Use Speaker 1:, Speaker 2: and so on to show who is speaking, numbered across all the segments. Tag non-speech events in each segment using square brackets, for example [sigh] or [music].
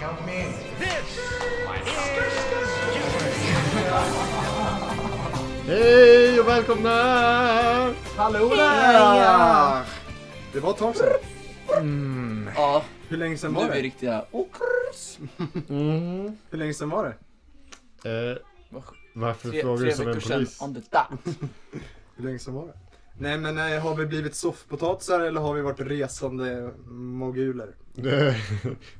Speaker 1: Count me in.
Speaker 2: This is Giveaway.
Speaker 3: Hej och välkomna!
Speaker 1: Hallå
Speaker 4: ja.
Speaker 1: där! Det var ett tag sedan.
Speaker 4: Ja,
Speaker 1: Hur länge sedan
Speaker 4: nu
Speaker 1: var
Speaker 4: är vi
Speaker 1: det?
Speaker 4: riktiga åkers.
Speaker 3: Mm.
Speaker 1: Hur länge sedan var det?
Speaker 3: Eh,
Speaker 4: Var-
Speaker 3: varför
Speaker 4: Tre,
Speaker 3: frågar
Speaker 4: tre
Speaker 3: du som en
Speaker 4: veckor sedan,
Speaker 3: polis?
Speaker 4: on the [laughs] dot.
Speaker 1: Hur länge sedan var det? Nej men eh, har vi blivit soffpotatisar eller har vi varit resande moguler?
Speaker 3: [laughs] vi har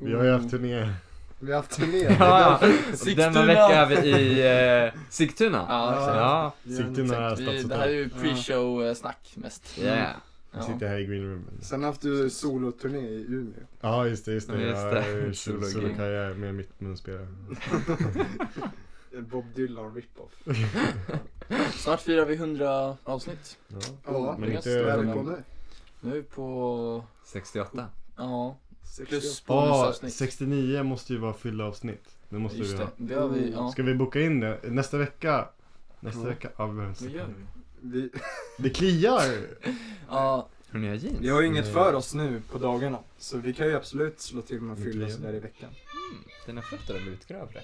Speaker 3: ju
Speaker 4: Mm.
Speaker 3: haft turné.
Speaker 1: Vi har haft turné.
Speaker 5: [laughs] Ja, ja.
Speaker 4: Sigtuna.
Speaker 5: Denna vecka är vi i eh, Sigtuna.
Speaker 1: Ja.
Speaker 4: Ja, exakt.
Speaker 5: Ja,
Speaker 1: Vi har en-
Speaker 3: Sigtuna är
Speaker 4: Vi, det här är
Speaker 3: stadshotel.
Speaker 4: ju pre-show eh, snack mest. Mm.
Speaker 5: yeah.
Speaker 3: Vi
Speaker 4: Ja.
Speaker 3: sitter här i greenroomen.
Speaker 1: Sen har haft du soloturné i Umeå.
Speaker 3: Ja just det, just det.
Speaker 5: Just
Speaker 3: Jag
Speaker 5: det.
Speaker 4: [laughs]
Speaker 3: har ju sol-
Speaker 5: Solo-gig.
Speaker 3: solokarriär med mitt munspelare.
Speaker 1: Bob Dylan rip-off.
Speaker 4: Snart firar vi 100 avsnitt.
Speaker 3: Ja.
Speaker 1: Ja,
Speaker 3: Men
Speaker 4: det
Speaker 3: inte...
Speaker 4: är
Speaker 1: Vad är vi
Speaker 4: men-
Speaker 1: på nu?
Speaker 4: Nu är vi på,
Speaker 5: 68.
Speaker 4: ja, plus
Speaker 3: Ja,
Speaker 4: bonusavsnitt.
Speaker 3: 69 måste ju vara fylla avsnitt. Det måste
Speaker 4: Just
Speaker 3: vi ha.
Speaker 4: det, det har vi, ja.
Speaker 3: Ska vi boka in det? Nästa vecka? Nästa
Speaker 1: Ja.
Speaker 3: vecka? Ja, vi behöver inte
Speaker 4: Det gör
Speaker 3: säga.
Speaker 4: vi.
Speaker 1: Vi,
Speaker 3: Det kliar!
Speaker 4: Ja,
Speaker 5: Tror ni jag har jeans?
Speaker 1: vi har ju inget
Speaker 3: Nej.
Speaker 1: för oss nu på dagarna. Så vi kan ju absolut slå till med
Speaker 3: Mitt
Speaker 1: fylla
Speaker 3: liv.
Speaker 1: sådär i veckan.
Speaker 5: Dina fötter har blivit grövre.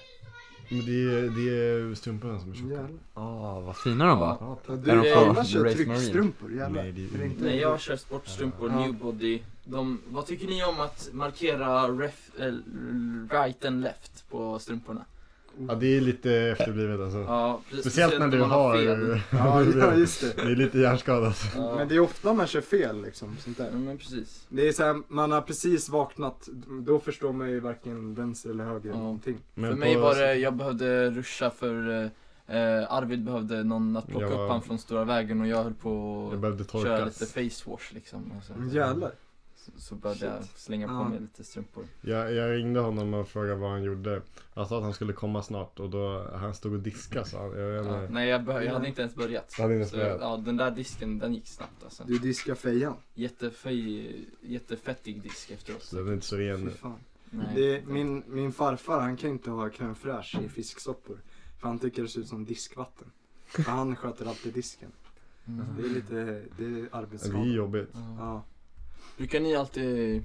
Speaker 3: Men det är, det är strumporna som är tjocka.
Speaker 1: Jävlar.
Speaker 5: Åh, vad fina de var.
Speaker 3: Ja,
Speaker 1: Ja,
Speaker 3: tack.
Speaker 1: Du
Speaker 4: Är de från
Speaker 1: annars kör
Speaker 5: Race Marine?
Speaker 1: tryckstrumpor, jävlar.
Speaker 3: Nej, det är-
Speaker 1: Är det inte-
Speaker 4: nej jag kör sportstrumpor,
Speaker 1: Ja.
Speaker 4: new body. De, vad tycker ni om att markera ref, eh, right and left på strumporna?
Speaker 3: Ja, det är lite efterblivet alltså.
Speaker 4: Ja, precis,
Speaker 3: Speciellt när du
Speaker 4: man
Speaker 3: har... [laughs]
Speaker 4: fel.
Speaker 1: Ja, ja, just
Speaker 3: Det
Speaker 1: det.
Speaker 3: är lite hjärnskadat.
Speaker 4: Ja.
Speaker 1: Men det är ofta man kör fel liksom, sånt
Speaker 4: Ja,
Speaker 1: där.
Speaker 4: men precis.
Speaker 1: Det är såhär, man har precis vaknat, då förstår man ju varken vänster eller höger
Speaker 4: Ja.
Speaker 1: någonting.
Speaker 3: Men
Speaker 4: för mig
Speaker 3: på-
Speaker 4: var det, jag behövde ruscha för eh, eh, Arvid behövde någon att plocka
Speaker 3: Jag var-
Speaker 4: upp han från stora vägen och jag höll
Speaker 3: Jag
Speaker 4: på
Speaker 3: behövde
Speaker 4: att köra
Speaker 3: torkas.
Speaker 4: lite face wash liksom. Och så,
Speaker 1: Jävlar.
Speaker 4: så, så började jag slänga på
Speaker 1: Mm. Ja.
Speaker 4: mig lite strumpor.
Speaker 3: Jag, jag ringde honom och frågade vad han gjorde. Han sa att han skulle komma snart och då, han stod och diskade sa han. Jag vet
Speaker 4: Ja,
Speaker 3: inte.
Speaker 4: nej jag, behö- jag hade
Speaker 1: Ja.
Speaker 4: inte ens börjat.
Speaker 3: Du hade inte ens
Speaker 4: så,
Speaker 3: börjat.
Speaker 4: ja, den där disken den gick snabbt alltså.
Speaker 1: Du diskar fejan.
Speaker 4: Jättefej, jättefettig disk efteråt.
Speaker 3: Så den är inte så ren
Speaker 1: Fy
Speaker 3: nu.
Speaker 1: fan.
Speaker 4: Nej.
Speaker 1: Det är, min, min farfar han kan inte ha crème fraîche i fisksoppor. För han tycker det ser ut som diskvatten. För han sköter alltid disken.
Speaker 4: Mm.
Speaker 1: Det är lite, det är
Speaker 3: Det är
Speaker 1: arbetsskada.
Speaker 3: jobbigt.
Speaker 4: Ja.
Speaker 1: Ja.
Speaker 4: Brukar ni alltid,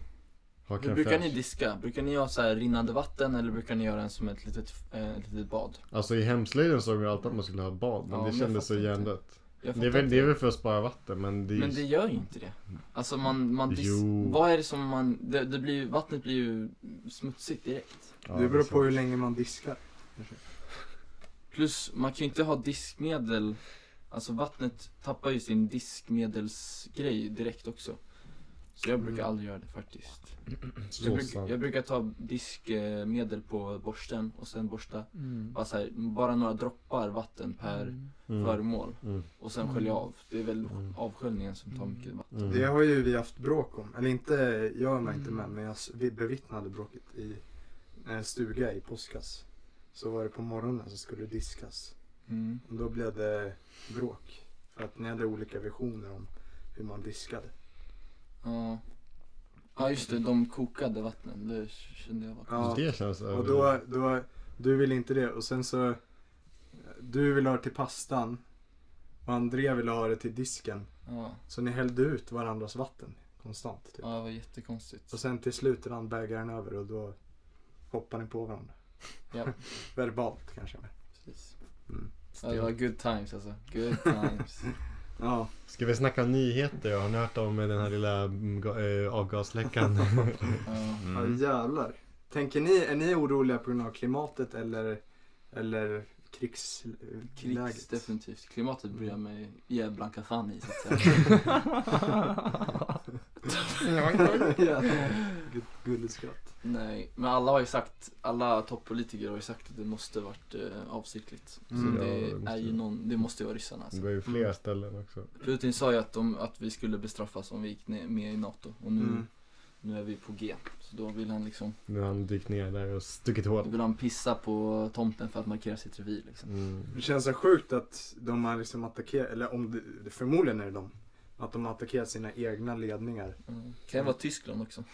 Speaker 3: Ha
Speaker 4: hur
Speaker 3: crème
Speaker 4: brukar ni
Speaker 3: fraîche.
Speaker 4: diska? Brukar ni ha så här rinnande vatten eller brukar ni göra en som ett litet, eh, ett litet bad?
Speaker 3: Alltså i hemslöjden såg vi alltid att man skulle ha bad, men
Speaker 4: Ja,
Speaker 3: det
Speaker 4: men jag
Speaker 3: kändes så
Speaker 4: fattar inte.
Speaker 3: hjärndött.
Speaker 4: Jag
Speaker 3: Det är,
Speaker 4: fattar
Speaker 3: väl,
Speaker 4: inte.
Speaker 3: det är väl för att spara vatten, men det är ju...
Speaker 4: Men det gör ju inte det. Alltså man, man dis-
Speaker 3: Jo.
Speaker 4: vad är det som man, det, det blir, ju- vattnet blir ju smutsigt direkt.
Speaker 3: Ja,
Speaker 1: Det beror
Speaker 3: är
Speaker 1: på
Speaker 3: sant.
Speaker 1: hur länge man diskar.
Speaker 4: Plus man kan ju inte ha diskmedel, alltså vattnet tappar ju sin diskmedelsgrej direkt också. Så jag brukar
Speaker 1: Mm.
Speaker 4: aldrig göra det faktiskt. Jag,
Speaker 3: Så
Speaker 4: bruk,
Speaker 3: sant.
Speaker 4: jag brukar ta diskmedel på borsten och sen borsta
Speaker 5: Mm.
Speaker 4: bara, så här, bara några droppar vatten per
Speaker 3: Mm.
Speaker 4: föremål.
Speaker 3: Mm.
Speaker 4: Och sen skölja av. Det är väl
Speaker 3: Mm.
Speaker 4: avsköljningen som tar mycket vatten.
Speaker 3: Mm.
Speaker 1: Det har ju vi haft bråk om. Eller inte jag var inte med men jag s- vi bevittnade bråket i en stuga i påskas. Så var det på morgonen så skulle det diskas. Och då blev det bråk. För att ni hade olika visioner om hur man diskade.
Speaker 4: Ja. Ja just det, de kokade vattnen. Det kände jag var
Speaker 1: Ja.
Speaker 3: Det känns...
Speaker 1: Och då, då, du ville inte det. Och sen så, du ville ha det till pastan. Och André ville ha det till disken.
Speaker 4: Ja,
Speaker 1: Så ni hällde ut varandras vatten konstant. Typ.
Speaker 4: ja det var jättekonstigt.
Speaker 1: Och sen till slut rann bägaren över och då hoppade ni på varandra.
Speaker 4: Ja.
Speaker 1: [laughs] Verbalt kanske.
Speaker 4: Precis.
Speaker 1: Mm.
Speaker 4: Ja, det var good times alltså. Good
Speaker 1: [laughs]
Speaker 4: times.
Speaker 1: Ja.
Speaker 3: Ska vi snacka om nyheter? Har ni hört om eh, den här lilla mm, ga-
Speaker 4: [laughs]
Speaker 3: eh, avgasläckan?
Speaker 4: Ja.
Speaker 5: Mm.
Speaker 1: Ja jävlar. Tänker ni, är ni oroliga på grund av klimatet eller, eller krigs,
Speaker 4: Krigs
Speaker 1: läget?
Speaker 4: definitivt. Klimatet bryr jag mig jävla fan i så att
Speaker 1: [laughs]
Speaker 4: säga.
Speaker 1: [laughs] ja. Gu- Gulligt skratt.
Speaker 4: Nej, men alla har ju sagt, alla toppolitiker har ju sagt att det måste varit eh, avsiktligt. Så
Speaker 1: Mm.
Speaker 4: det,
Speaker 3: Ja, det måste
Speaker 4: är ju
Speaker 3: det.
Speaker 4: någon, det måste ju vara ryssarna alltså.
Speaker 3: Det var ju flera ställen också.
Speaker 4: Putin sa ju att, de, att vi skulle bestraffas om vi gick ner, med i NATO och nu,
Speaker 1: Mm.
Speaker 4: nu är vi på G. Så då vill han liksom,
Speaker 3: Nu har han dykt ner där och stuckit
Speaker 4: då
Speaker 3: hål.
Speaker 4: vill han pissa på tomten för att markera sitt revir liksom.
Speaker 3: Mm.
Speaker 1: Det känns så sjukt att de har liksom attackerat, eller om det, förmodligen är det de, att de har attackerat sina egna ledningar.
Speaker 4: Mm. Kan ju vara Tyskland också.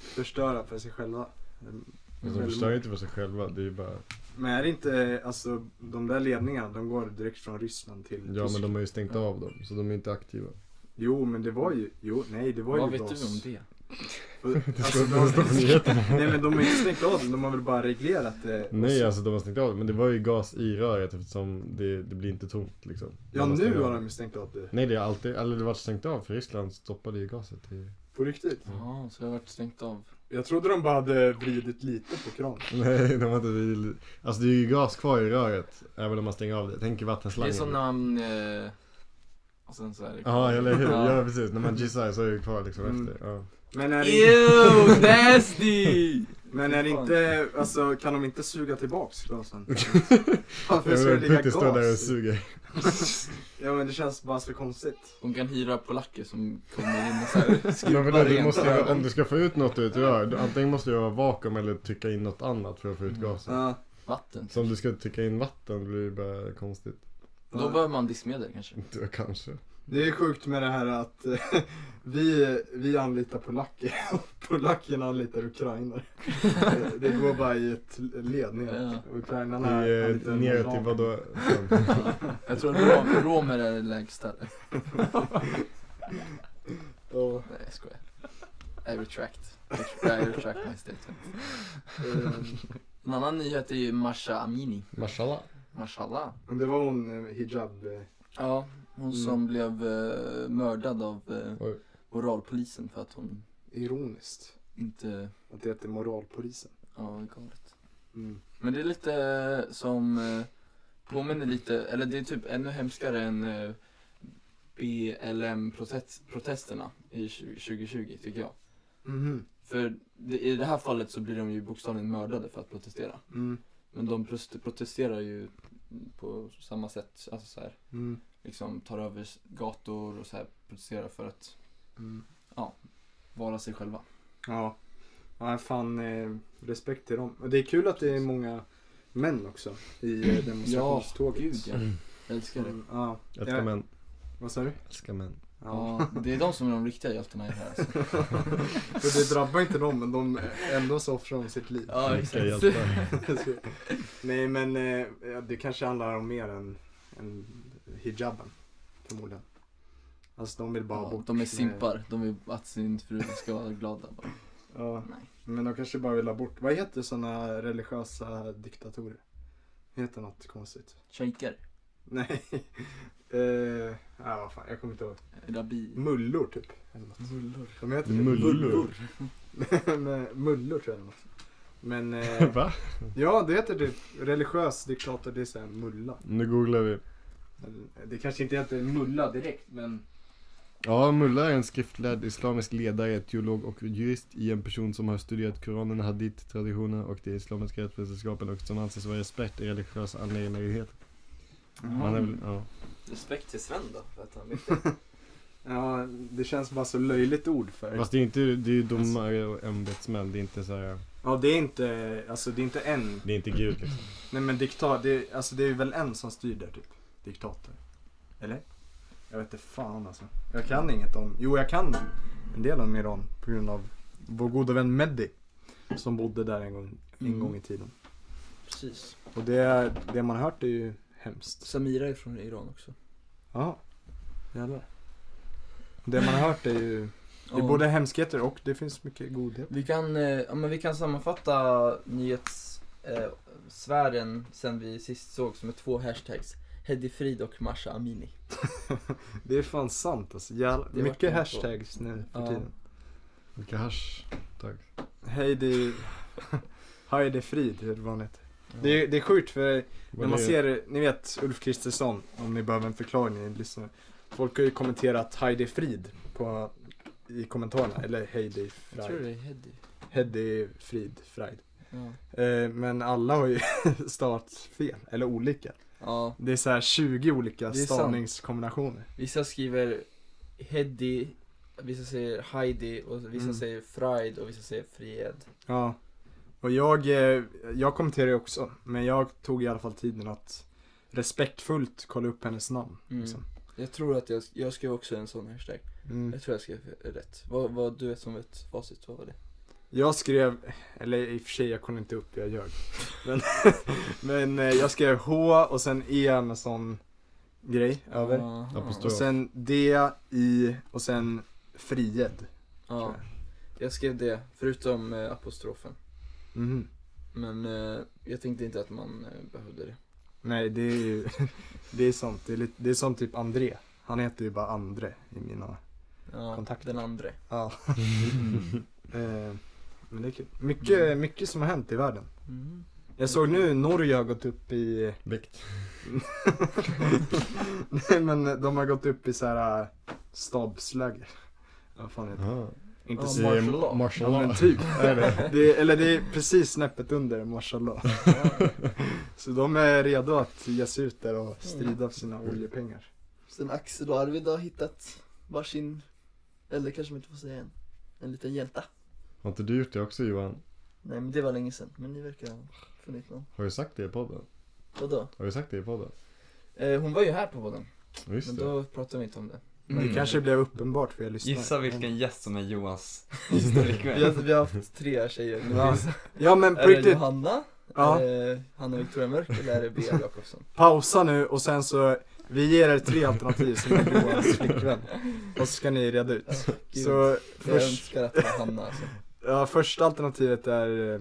Speaker 1: Förstöra för sig själva.
Speaker 3: Alltså,
Speaker 1: Mm.
Speaker 3: de förstör ju inte för sig själva. Det är ju bara...
Speaker 1: Men är det inte, alltså de där ledningarna, de går direkt från Ryssland till
Speaker 3: Ja, men
Speaker 1: Tyskland.
Speaker 3: de har ju stängt av dem. Så de är inte aktiva.
Speaker 1: Jo men det var ju, jo nej det var
Speaker 4: Vad
Speaker 1: ju
Speaker 4: vet du om det?
Speaker 1: Och, [laughs] alltså,
Speaker 3: skulle
Speaker 1: de,
Speaker 3: inte stå på nyheterna.
Speaker 1: nej men de har inte stängt av den, de har väl bara reglerat det. Och
Speaker 3: Nej
Speaker 1: så-
Speaker 3: alltså de har stängt av det, men det var ju gas i röret eftersom det, det blir inte tomt liksom.
Speaker 1: Ja
Speaker 3: De
Speaker 1: nu
Speaker 3: stängt av
Speaker 1: har
Speaker 3: det.
Speaker 1: de ju stängt av det.
Speaker 3: Nej det har alltid, eller det var stängt av för Ryssland stoppade ju gaset i... [laughs]
Speaker 1: På riktigt.
Speaker 6: Ja, så jag har varit stängt av.
Speaker 1: Jag trodde de bara hade vridit lite på kranen.
Speaker 3: Nej de har inte, alltså det är ju gas kvar i röret även om man stänger av det. Tänk i
Speaker 6: Det är
Speaker 3: vattenslangen.
Speaker 6: som när man... Eh, och sen så är det
Speaker 3: Ja eller hur,
Speaker 6: Ja.
Speaker 3: ja precis.
Speaker 1: [laughs]
Speaker 3: När man gissar så är det kvar liksom
Speaker 1: Mm.
Speaker 3: efter. Ja.
Speaker 1: Men är det,
Speaker 6: Ew, nasty!
Speaker 1: men är det inte, alltså kan de inte suga tillbaks
Speaker 3: [laughs]
Speaker 1: glasen? Varför ska
Speaker 3: Jag
Speaker 1: det
Speaker 3: vill
Speaker 1: ligga
Speaker 3: Putin står där och
Speaker 1: gas? i?
Speaker 3: suger.
Speaker 1: Ja men det känns bara så konstigt.
Speaker 6: De kan hyra polacker som kommer in och så här
Speaker 3: Men vadå,
Speaker 6: skruvar
Speaker 3: du måste,
Speaker 6: rent.
Speaker 3: ju- om du ska få ut något ur ett rör, då- antingen måste du ha vakuum eller trycka in något annat för att få ut
Speaker 5: Mm.
Speaker 3: gasen.
Speaker 1: Ja.
Speaker 4: typ.
Speaker 6: vatten.
Speaker 3: Så om du ska trycka in vatten blir det bara konstigt. [laughs]
Speaker 6: Då behöver man diskmedel kanske.
Speaker 3: Du, kanske.
Speaker 1: Det är sjukt med det här att [laughs] eh, vi, vi anlitar [laughs] polacker och polackerna anlitar ukrainare. Det- Det går bara i ett led ner. Och Ukrainarna
Speaker 3: I, eh,
Speaker 1: anlitar
Speaker 3: ner till
Speaker 1: Moldaver.
Speaker 3: vadå?
Speaker 6: Jag tror att rom, romer är det lägsta. Nej,
Speaker 1: Ja,
Speaker 6: jag skojar. I retract. I retract my statement.
Speaker 1: ehm,
Speaker 6: En annan nyhet är ju Masha Amini.
Speaker 3: Mashallah.
Speaker 6: Mashallah.
Speaker 1: men det var hon eh, hijab. eh,
Speaker 6: Ja, hon som blev eh, mördad av eh,
Speaker 3: Oj.
Speaker 6: oralpolisen för att hon
Speaker 1: Ironiskt.
Speaker 6: inte...
Speaker 1: Att det heter moralpolisen.
Speaker 6: Ja, det är galet.
Speaker 1: Mm.
Speaker 6: Men det är lite eh, som... eh, Påminner lite, eller det är typ ännu hemskare än eh, BLM-protesterna i 20- 2020 tycker jag.
Speaker 1: Mhm.
Speaker 6: För det, i det här fallet så blir de ju bokstavligen mördade för att protestera.
Speaker 1: Mm.
Speaker 6: Men de prost- protesterar ju på samma sätt, alltså så här,
Speaker 1: Mm.
Speaker 6: liksom tar över s- gator och så här protesterar för att
Speaker 1: Mm.
Speaker 6: vara sig själva.
Speaker 1: Ja. ja, fan eh, respekt till dem. Och det är kul att det är många män också i
Speaker 6: [clears throat]
Speaker 1: eh, demonstrationståget.
Speaker 6: gud ja. Jag älskar det.
Speaker 1: Mm, ja.
Speaker 3: Älskar
Speaker 1: Ja.
Speaker 3: män.
Speaker 1: Vad
Speaker 6: [laughs]
Speaker 1: sa du?
Speaker 3: Älskar män.
Speaker 6: Ja, det är de som är de riktiga hjältarna i det här alltså.
Speaker 1: [laughs] För det drabbar inte dem men de ändå så offrar de sitt liv.
Speaker 6: Ja,
Speaker 3: Älskar
Speaker 6: exakt.
Speaker 1: [laughs]
Speaker 3: hjältar.
Speaker 1: Så- Nej men eh, ja, det kanske handlar om mer än, än hijaben. Förmodligen. Alltså de vill bara
Speaker 6: Ja,
Speaker 1: bort.
Speaker 6: de är simpar, de vill att sin fru ska vara glada. bara.
Speaker 1: Eh, Ja,
Speaker 6: Nej.
Speaker 1: men de kanske bara vill ha bort. Vad heter sådana religiösa diktatorer? Heter något konstigt?
Speaker 6: Shejker,
Speaker 1: Nej. [laughs] eh, ja, vad fan, jag kommer inte ihåg.
Speaker 6: rabi.
Speaker 1: Mullor typ. Eller något.
Speaker 6: Mullor.
Speaker 1: De heter det.
Speaker 3: Mullor.
Speaker 1: [laughs]
Speaker 3: [laughs]
Speaker 1: Men, Mullor tror jag eller något. Men eh,
Speaker 3: [laughs] Va?
Speaker 1: Ja, det heter typ religiös diktator, det är såhär mulla.
Speaker 3: Nu googlar vi.
Speaker 1: Eller, Det kanske inte heter mulla direkt, men...
Speaker 3: Ja, mullah är en skriftlärd islamisk ledare, teolog och jurist i en person som har studerat Koranen, hadith, traditionen och de islamiska rättsvetenskapen och som anses vara expert i religiösa angelägenheter. Man är väl, ja.
Speaker 6: Respekt till Sven då, för att han vet
Speaker 1: Ja, det känns bara så löjligt ord för.
Speaker 3: Fast det är inte, det är ju domare och ämbetsmän, det är inte så här,
Speaker 1: Ja, det är inte, alltså det är inte en.
Speaker 3: det är inte gud liksom.
Speaker 1: Nej men diktator, det, är- alltså det är väl en som styr där typ. Diktator. Eller? Jag vet inte fan alltså. Jag kan inget om, jo jag kan en del om Iran på grund av vår goda vän Mehdi. Som bodde där en gång, en
Speaker 6: Mm.
Speaker 1: gång i tiden.
Speaker 6: Precis.
Speaker 1: Och det, det man har hört är ju hemskt.
Speaker 6: Samira är från Iran också.
Speaker 1: Ja, jävlar. Det man har hört är ju, det är både hemskheter och det finns mycket godhet.
Speaker 4: Vi kan, eh, ja, men vi kan sammanfatta nyhetssfären eh, sfären sen vi sist såg som är två hashtags. Hedi Frid och Masha Amini.
Speaker 1: Det är fan sant alltså. Jävlar,
Speaker 4: Det
Speaker 1: mycket
Speaker 4: vart nog
Speaker 1: hashtags nu för
Speaker 4: Ja.
Speaker 1: tiden.
Speaker 3: Vilka hasch. Tack.
Speaker 1: Heidi, [laughs] Heidi Frid, hur var hon heter. Det är, det är sjukt för när
Speaker 3: Vad
Speaker 1: man
Speaker 3: det-
Speaker 1: ser, ni vet Ulf Kristersson, om ni behöver en förklaring ni lyssnar. Folk har ju kommenterat Heidi Frid på, i kommentarerna, eller Heidi
Speaker 6: Jag tror
Speaker 1: Frid.
Speaker 6: det är Hedi.
Speaker 1: Heidi Frid, Frid.
Speaker 6: Ja.
Speaker 1: Eh, men alla har ju [laughs] stavat fel, eller olika.
Speaker 4: Ja,
Speaker 1: Det är så här 20 olika
Speaker 4: Det är sant.
Speaker 1: stavningskombinationer.
Speaker 4: vissa skriver Hedi, vissa säger Heidi och vissa
Speaker 1: Mm.
Speaker 4: säger Fried och vissa säger Fried.
Speaker 1: Ja. Och jag, eh, jag kommenterar ju också, men jag tog i alla fall tiden att respektfullt kolla upp hennes namn.
Speaker 4: Mm.
Speaker 1: Liksom.
Speaker 4: Jag tror att jag, jag skrev också en sån hashtag.
Speaker 1: Mm.
Speaker 4: Jag tror jag skrev rätt. Vad, vad du vet som ett facit, vad var det?
Speaker 1: Jag skrev, eller i och för sig jag kollade inte upp, jag ljög. Men, [laughs] men eh, jag skrev H och sen E med sån grej över.
Speaker 4: Aha.
Speaker 3: Apostrof.
Speaker 1: Och sen D, I och sen Fried.
Speaker 4: Ja.
Speaker 1: tror
Speaker 4: Jag skrev det, förutom eh, apostrofen.
Speaker 1: Mhm.
Speaker 4: Men eh, jag tänkte inte att man eh, behövde det.
Speaker 1: Nej, det är ju, [laughs] det är sant. Det är, lite, det är som typ André. Han heter ju bara Andre i mina,
Speaker 4: Ja,
Speaker 1: Kontakter.
Speaker 4: den andra.
Speaker 1: ja. [laughs] Eh, Men det är kul. Mycket, mycket som har hänt i världen.
Speaker 4: Mm.
Speaker 1: Jag såg nu Norge har gått upp i,
Speaker 3: Vikt.
Speaker 1: nej men de har gått upp i så här äh, stabsläger. Vad fan heter det?
Speaker 3: Jaha.
Speaker 1: Inte
Speaker 4: Ja,
Speaker 1: så.
Speaker 3: Det
Speaker 4: martial
Speaker 3: är
Speaker 4: law.
Speaker 1: Ja
Speaker 3: martial
Speaker 1: men
Speaker 3: law.
Speaker 1: typ.
Speaker 3: [laughs] Är det?
Speaker 1: Det är, eller det är precis snäppet under Marshallah. [laughs] Så de är redo att ge sig ut där och strida för sina oljepengar.
Speaker 7: Sen Axel och Arvid har hittat varsin, eller kanske man inte får säga en, en liten hjälta.
Speaker 3: Har inte du gjort det också Johan?
Speaker 7: Nej men det var länge sedan, men ni verkar ha funnit någon.
Speaker 3: Har du sagt det i podden?
Speaker 7: Vadå?
Speaker 3: Har du sagt det i podden?
Speaker 4: Eh, hon var ju här på podden,
Speaker 3: Ja, Just
Speaker 4: men
Speaker 3: det.
Speaker 4: då pratade vi inte om det.
Speaker 1: Det kanske blev uppenbart för er lyssnare.
Speaker 5: Mm. Gissa vilken gäst som är Johans flickvän.
Speaker 4: Vi har, vi har haft tre tjejer.
Speaker 1: Ja, ja men på
Speaker 4: Är det
Speaker 1: riktigt.
Speaker 4: Johanna?
Speaker 1: Ja.
Speaker 4: Är det Hanna Victoria Mörk eller
Speaker 1: [laughs]
Speaker 4: är det Bea Jakobsson?
Speaker 1: Pausa nu och sen så, vi ger er tre alternativ som är Johans flickvän. Och så ska ni reda ut.
Speaker 4: Gud,
Speaker 1: Så
Speaker 4: jag
Speaker 1: först,
Speaker 4: önskar att det var Hanna alltså.
Speaker 1: ja, första alternativet är eh,